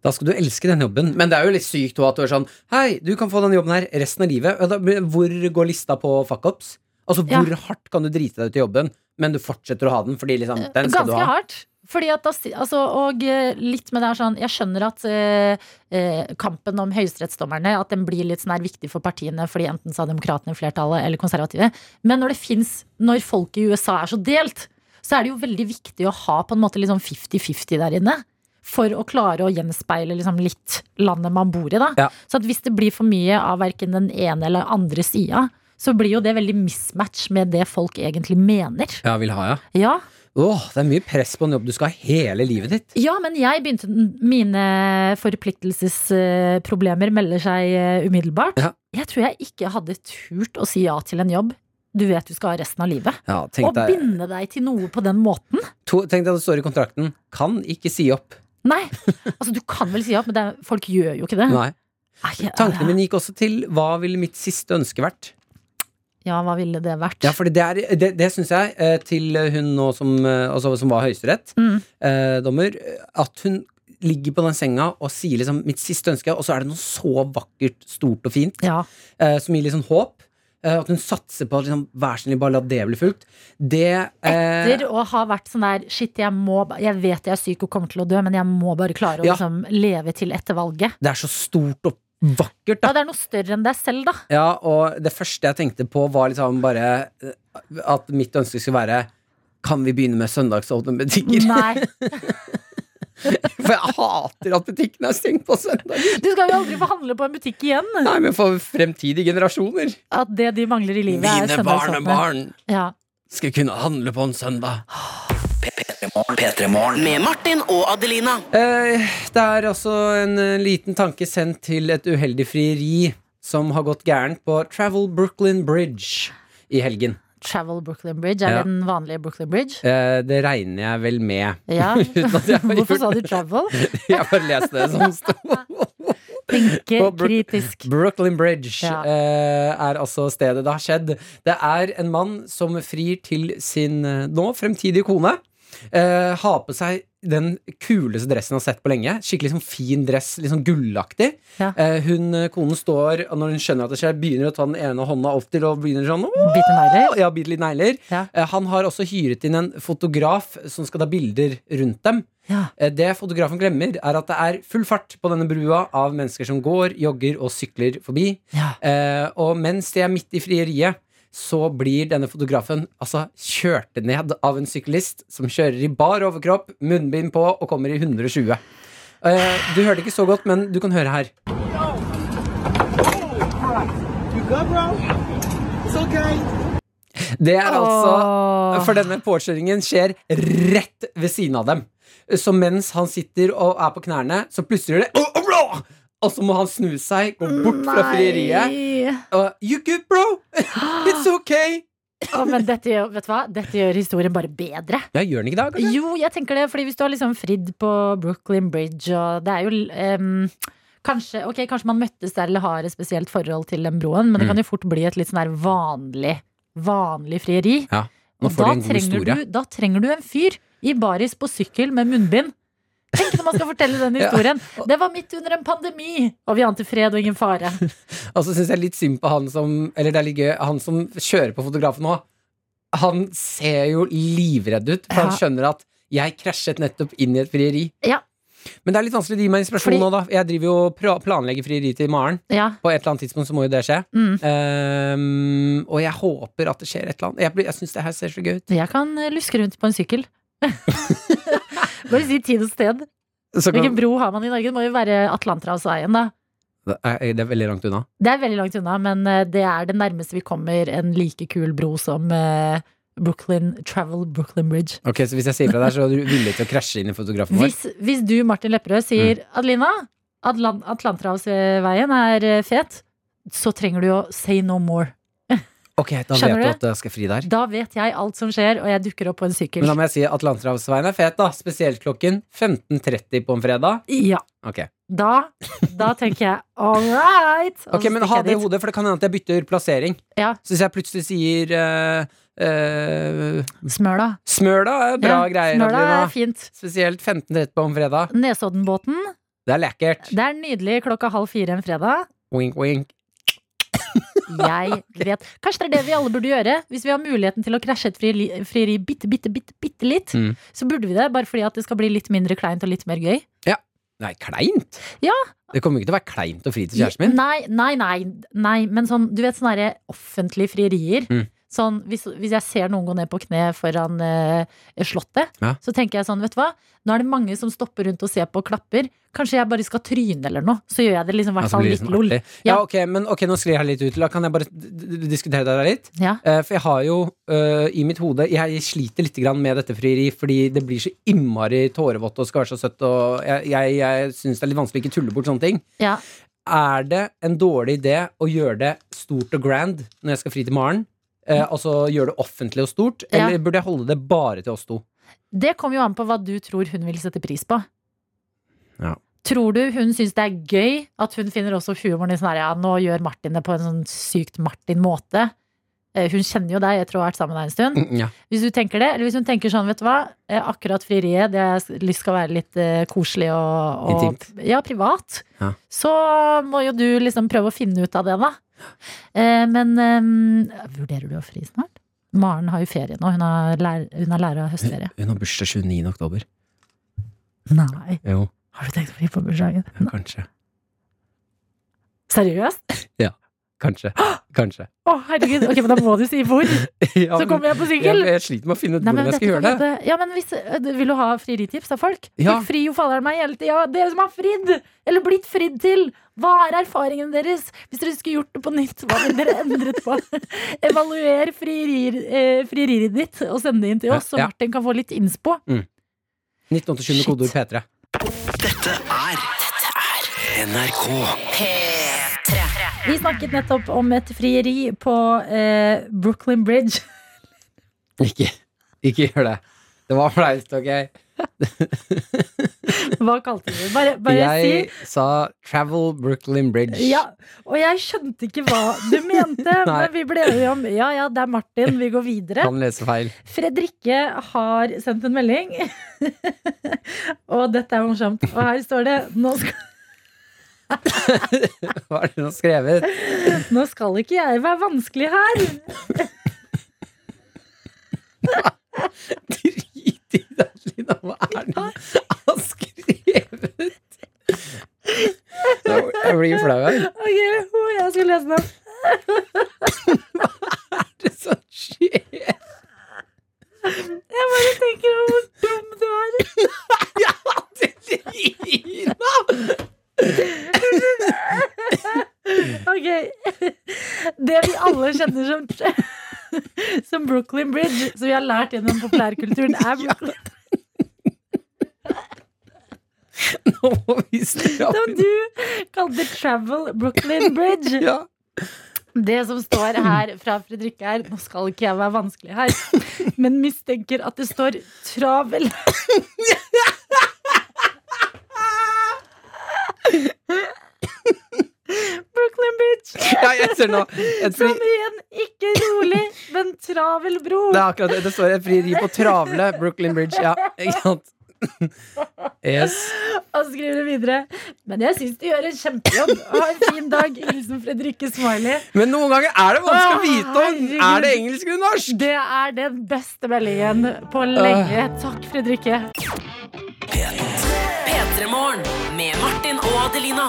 S3: Da skal du elske den jobben. Men det er jo litt sykt også at du er sånn Hei, du kan få den jobben her resten av livet. Ja, da- men Hvor går lista på fuckups? Altså,
S2: Ja.
S3: hvor hardt kan du drite deg ut i jobben, men du fortsetter å ha den fordi liksom, den skal du
S2: Eh, Ganske
S3: ha?
S2: hardt. Fordi at da, si- altså, og eh, litt med det her sånn Jeg skjønner at eh, eh, kampen om høyesterettsdommerne At den blir litt sånn her viktig for partiene, fordi enten så har demokratene flertallet eller konservative. Men når det finnes Når folk i USA er så delt, så er det jo veldig viktig å ha på en måte litt sånn 50-50 der inne. For å klare å gjenspeile liksom litt landet man bor i. da Så at hvis det blir for mye av verken den ene eller andre sida, så blir jo det veldig mismatch med det folk egentlig mener.
S3: Ja, vil ha, ja.
S2: Ja
S3: Åh, det er mye press på en jobb du skal ha hele livet ditt.
S2: Ja, men jeg begynte Mine forpliktelsesproblemer melder seg eh, umiddelbart. Jeg tror jeg ikke hadde turt å si ja til en jobb du vet du skal ha resten av livet.
S3: Ja, tenk
S2: Og
S3: deg,
S2: binde deg til noe på den måten.
S3: to, tenk deg det står i kontrakten 'kan ikke si opp'.
S2: Nei! Altså, du kan vel si ja, men det, er- folk gjør jo ikke det.
S3: Nei.
S2: Nei,
S3: Tankene mine gikk også til 'hva ville mitt siste ønske vært'?
S2: Ja, hva ville det vært?
S3: Ja, for det, er- det, det syns jeg, eh, til hun nå som, eh, altså, som var høyesterett,
S2: Mm.
S3: eh, dommer, at hun ligger på den senga og sier liksom 'mitt siste ønske', og så er det noe så vakkert, stort og fint eh, som gir litt sånn håp. eh, At hun satser på at liksom, vær så snill, bare la det bli fulgt. Det eh,
S2: Etter å ha vært sånn der Shit, jeg, må, ba- jeg vet jeg er syk og kommer til å dø, men jeg må bare klare å
S3: Ja.
S2: liksom, leve til etter valget.
S3: Det er så stort og vakkert,
S2: Ja, det er noe større enn deg selv, da.
S3: Ja, og det første jeg tenkte på var liksom bare eh, at mitt ønske skulle være Kan vi begynne med søndagsåpne butikker?
S2: Nei.
S3: For jeg hater at butikken er stengt på søndager.
S2: Du skal jo aldri få handle på en butikk igjen.
S3: Nei, men for fremtidige generasjoner.
S2: At det de mangler i livet, er
S3: Mine
S2: søndagsåpne.
S3: barnebarn
S2: Ja.
S3: skal kunne handle på en søndag.
S5: Med Martin og Adelina.
S3: Eh, det er også en eh, liten tanke sendt til et uheldig frieri som har gått gærent på Travel Brooklyn Bridge i helgen.
S2: Travel Brooklyn Bridge, er
S3: Ja.
S2: det den vanlige Brooklyn Bridge?
S3: Eh, det regner jeg vel med.
S2: Ja.
S3: Uten at jeg har
S2: Hvorfor
S3: gjort
S2: sa du travel?
S3: Jeg bare leste det som sto.
S2: Tenke
S3: På Brook-
S2: kritisk.
S3: Brooklyn Bridge
S2: Ja.
S3: eh, er altså stedet det har skjedd. Det er en mann som frir til sin eh, nå fremtidige kone. Eh, har på seg den kuleste dressen han har sett på lenge. Skikkelig sånn fin dress, litt sånn gullaktig.
S2: Ja.
S3: Eh, hun, eh, konen står, og når hun skjønner at det skjer, begynner å ta den ene hånda opp til og begynner sånn «Åh!»
S2: Bite negler?
S3: Ja, bite litt negler.
S2: Ja.
S3: Eh, han har også hyret inn en fotograf som skal ta bilder rundt dem.
S2: Ja.
S3: Eh, Det fotografen glemmer, er at det er full fart på denne brua av mennesker som går, jogger og sykler forbi.
S2: Ja.
S3: Eh, og mens de er midt i frieriet, så blir denne fotografen altså kjørt ned av en syklist som kjører i bar overkropp, munnbind på og kommer i 120. Eh, du hørte ikke så godt, men du kan høre her.
S11: You good, bro? It's okay.
S3: Det er altså For denne påkjøringen skjer rett ved siden av dem. Så mens han sitter og er på knærne, så plutselig gjør det «Åh, åh, bra!» Og så må han snu seg, gå
S2: Mm,
S3: bort fra frieriet. Og you good, bro? It's okay.
S2: Å, men dette gjør, vet du hva? dette gjør historien bare bedre.
S3: Ja, gjør den ikke det? kanskje?
S2: Jo, jeg tenker det, fordi hvis du har liksom fridd på Brooklyn Bridge, og det er jo em, Kanskje, ok, kanskje man møttes der eller har et spesielt forhold til den broen,
S3: Mm.
S2: men det kan jo fort bli et litt sånn her vanlig, vanlig frieri.
S3: Ja, nå
S2: Og
S3: får du
S2: da
S3: en god
S2: trenger
S3: historie.
S2: Du, da trenger du en fyr i baris på sykkel med munnbind. Tenk når man skal fortelle den
S3: Ja.
S2: historien. Det var midt under en pandemi, og vi ante fred og ingen fare.
S3: Og så syns jeg litt synd på han som Eller det er litt gøy, han som kjører på fotografen nå. Han ser jo livredd ut, for han
S2: Ja.
S3: skjønner at jeg krasjet nettopp inn i et frieri.
S2: Ja.
S3: Men det er litt vanskelig å gi meg inspirasjon
S2: Fordi-
S3: nå, da. Jeg driver jo og pra- planlegger frieri til i morgen.
S2: Ja.
S3: På et eller annet tidspunkt så må jo det skje.
S2: Mm.
S3: Ehm, og jeg håper at det skjer et eller annet. Jeg, blir- jeg syns det her ser så gøy ut.
S2: Jeg kan eh, luske rundt på en sykkel. Bare si tid og sted.
S3: Så kan-
S2: Hvilken bro har man i Norge? Det må jo være Atlanterhavsveien, da.
S3: Det er, det er veldig langt unna.
S2: Det er veldig langt unna, men eh, det er det nærmeste vi kommer en like kul bro som eh, Brooklyn Travel Brooklyn Bridge.
S3: Ok, Så hvis jeg sier fra der, så er du villig til å krasje inn i fotografen vår? Mm.
S2: Hvis, hvis du, Martin Lepperød, sier Adelina, Atlan Atlanterhavsveien er eh, fet, så trenger du å say no more.
S3: Ok, da
S2: Skjønner
S3: vet
S2: du?
S3: du at jeg skal fri der.
S2: Da vet jeg alt som skjer, og jeg dukker opp på en sykkel.
S3: Men da må jeg si at Atlanterhavsveien er fet, da. Spesielt klokken 15.30 på en fredag.
S2: Ja.
S3: Ok.
S2: Da, da tenker jeg all right. og
S3: Ok,
S2: så
S3: men
S2: stikker
S3: ha
S2: jeg
S3: det i
S2: dit.
S3: hodet, for det kan hende at jeg bytter plassering.
S2: Ja.
S3: Så hvis jeg plutselig sier eh, eh,
S2: Smøla.
S3: Smøla er bra
S2: Ja,
S3: greier.
S2: Smøla
S3: Adelina.
S2: er fint.
S3: Spesielt 15 rett på om fredag.
S2: Nesoddenbåten.
S3: Det er lekkert.
S2: Det er nydelig klokka halv fire en fredag.
S3: Wink, wink.
S2: Jeg vet. Kanskje det er det vi alle burde gjøre. Hvis vi har muligheten til å krasje et frieri, frieri bitte, bitte, bitte, bitte litt,
S3: Mm.
S2: så burde vi det. Bare fordi at det skal bli litt mindre kleint og litt mer gøy.
S3: Ja. Nei, kleint?
S2: Ja.
S3: Det kommer ikke til å være kleint å fri til kjæresten min.
S2: Nei, nei, nei. nei. Men sånn, du vet sånne her offentlige frierier.
S3: Mm.
S2: Sånn, hvis, hvis jeg ser noen gå ned på kne foran eh, Slottet,
S3: Ja.
S2: så tenker jeg sånn, vet du hva. Nå er det mange som stopper rundt og ser på og klapper. Kanskje jeg bare skal tryne eller noe. Så gjør jeg det liksom i hvert
S3: Altså,
S2: fall
S3: blir det
S2: litt
S3: sånn
S2: lol.
S3: artig. Ja, ok, men ok, nå sklir jeg litt ut. Da kan jeg bare d- d- diskutere det der litt.
S2: Ja.
S3: Eh, for jeg har jo eh, i mitt hode Jeg sliter litt grann med dette frieri fordi det blir så innmari tårevått og skal være så søtt, og jeg, jeg, jeg syns det er litt vanskelig å ikke tulle bort sånne ting.
S2: Ja.
S3: Er det en dårlig idé å gjøre det stort og grand når jeg skal fri til Maren? Eh, altså gjøre det offentlig og stort,
S2: Mm. Ja.
S3: eller burde jeg holde det bare til oss to?
S2: Det kommer jo an på hva du tror hun vil sette pris på.
S3: Ja.
S2: Tror du hun syns det er gøy at hun finner også humoren i sånn her ja, nå gjør Martin det på en sånn sykt Martin-måte? Eh, Hun kjenner jo deg, jeg tror hun har vært sammen med deg en stund.
S3: Mm, ja.
S2: Hvis du tenker det, eller hvis hun tenker sånn, vet du hva, eh, akkurat frieriet, det jeg lyst skal være litt eh, koselig og, og
S3: Intimt.
S2: Ja, privat.
S3: Ja.
S2: Så må jo du liksom prøve å finne ut av det, da. Eh, Men eh, vurderer du å fri snart? Maren har jo ferie nå, hun har lær- hun har lærer- og høstferie.
S3: Hun har bursdag 29. oktober.
S2: Nei.
S3: Jo,
S2: Har du tenkt å fri på bursdagen?
S3: kanskje.
S2: Seriøst?
S3: Kanskje. Kanskje.
S2: Å, herregud. Ok, men da må du si hvor. Så
S3: Ja, men-
S2: kommer jeg på sykkel.
S3: Jeg, jeg sliter med å finne ut
S2: Nei, men
S3: hvordan jeg
S2: dette
S3: skal gjøre
S2: kan
S3: det.
S2: hende- Ja, men hvis, øh, Vil du ha frieritips av folk?
S3: Ja.
S2: Folk frir jo faller meg hele tida. Dere som har fridd, eller blitt fridd til. Hva er erfaringene deres? Hvis dere skulle gjort det på nytt, hva ville dere endret på? Evaluer frierier- eh, frieriet ditt og send det inn til oss, så
S3: Ja.
S2: Martin kan få litt innspo.
S3: 1987 med kodeord P3.
S4: NRK.
S2: Vi snakket nettopp om et frieri på eh, Brooklyn Bridge.
S3: Ikke, ikke gjør det. Det var flaut, ok?
S2: Hva kalte du det? Bare, bare si
S3: jeg sa Travel Brooklyn Bridge.
S2: Ja, og jeg skjønte ikke hva du mente,
S3: Nei.
S2: men vi ble enige om ja, ja, det er Martin, vi går videre.
S3: Kan lese feil.
S2: Fredrikke har sendt en melding, og dette er morsomt. Og her står det nå skal,
S3: Hva er det hun har skrevet?
S2: nå skal ikke jeg være vanskelig her.
S3: Drit i det, Lina. Hva er det hun har skrevet? Nå- Jeg blir flau her.
S2: Ok, å, jeg skal lese den.
S3: Hva er det som skjer?
S2: Jeg bare tenker på hvor dum du er.
S3: Lina!
S2: Ok. Det vi alle kjenner som, som Brooklyn Bridge, som vi har lært gjennom populærkulturen, er Brooklyn
S3: Nå må vi
S2: Som
S3: stramme
S2: du kalte Travel Brooklyn Bridge.
S3: Ja.
S2: Det som står her fra Fredrikke er Nå skal ikke jeg være vanskelig her, men mistenker at det står travel. Brooklyn Bridge.
S3: ja, jeg ser nå. Et fri...
S2: Som igjen ikke rolig, men travel bro.
S3: Det er akkurat det. Det står et frieri på travle Brooklyn Bridge. Ja, ikke sant? Yes.
S2: Og så skriver du videre. Men jeg syns du gjør en kjempejobb. Ha en fin dag. Hilsen Fredrikke Smiley.
S3: Men noen ganger er det vanskelig å vite
S2: Å,
S3: om
S2: herregud.
S3: Er det engelsk eller norsk.
S2: Det er den beste meldingen på lenge. Takk, Fredrikke.
S5: P3morgen med Martin og Adelina.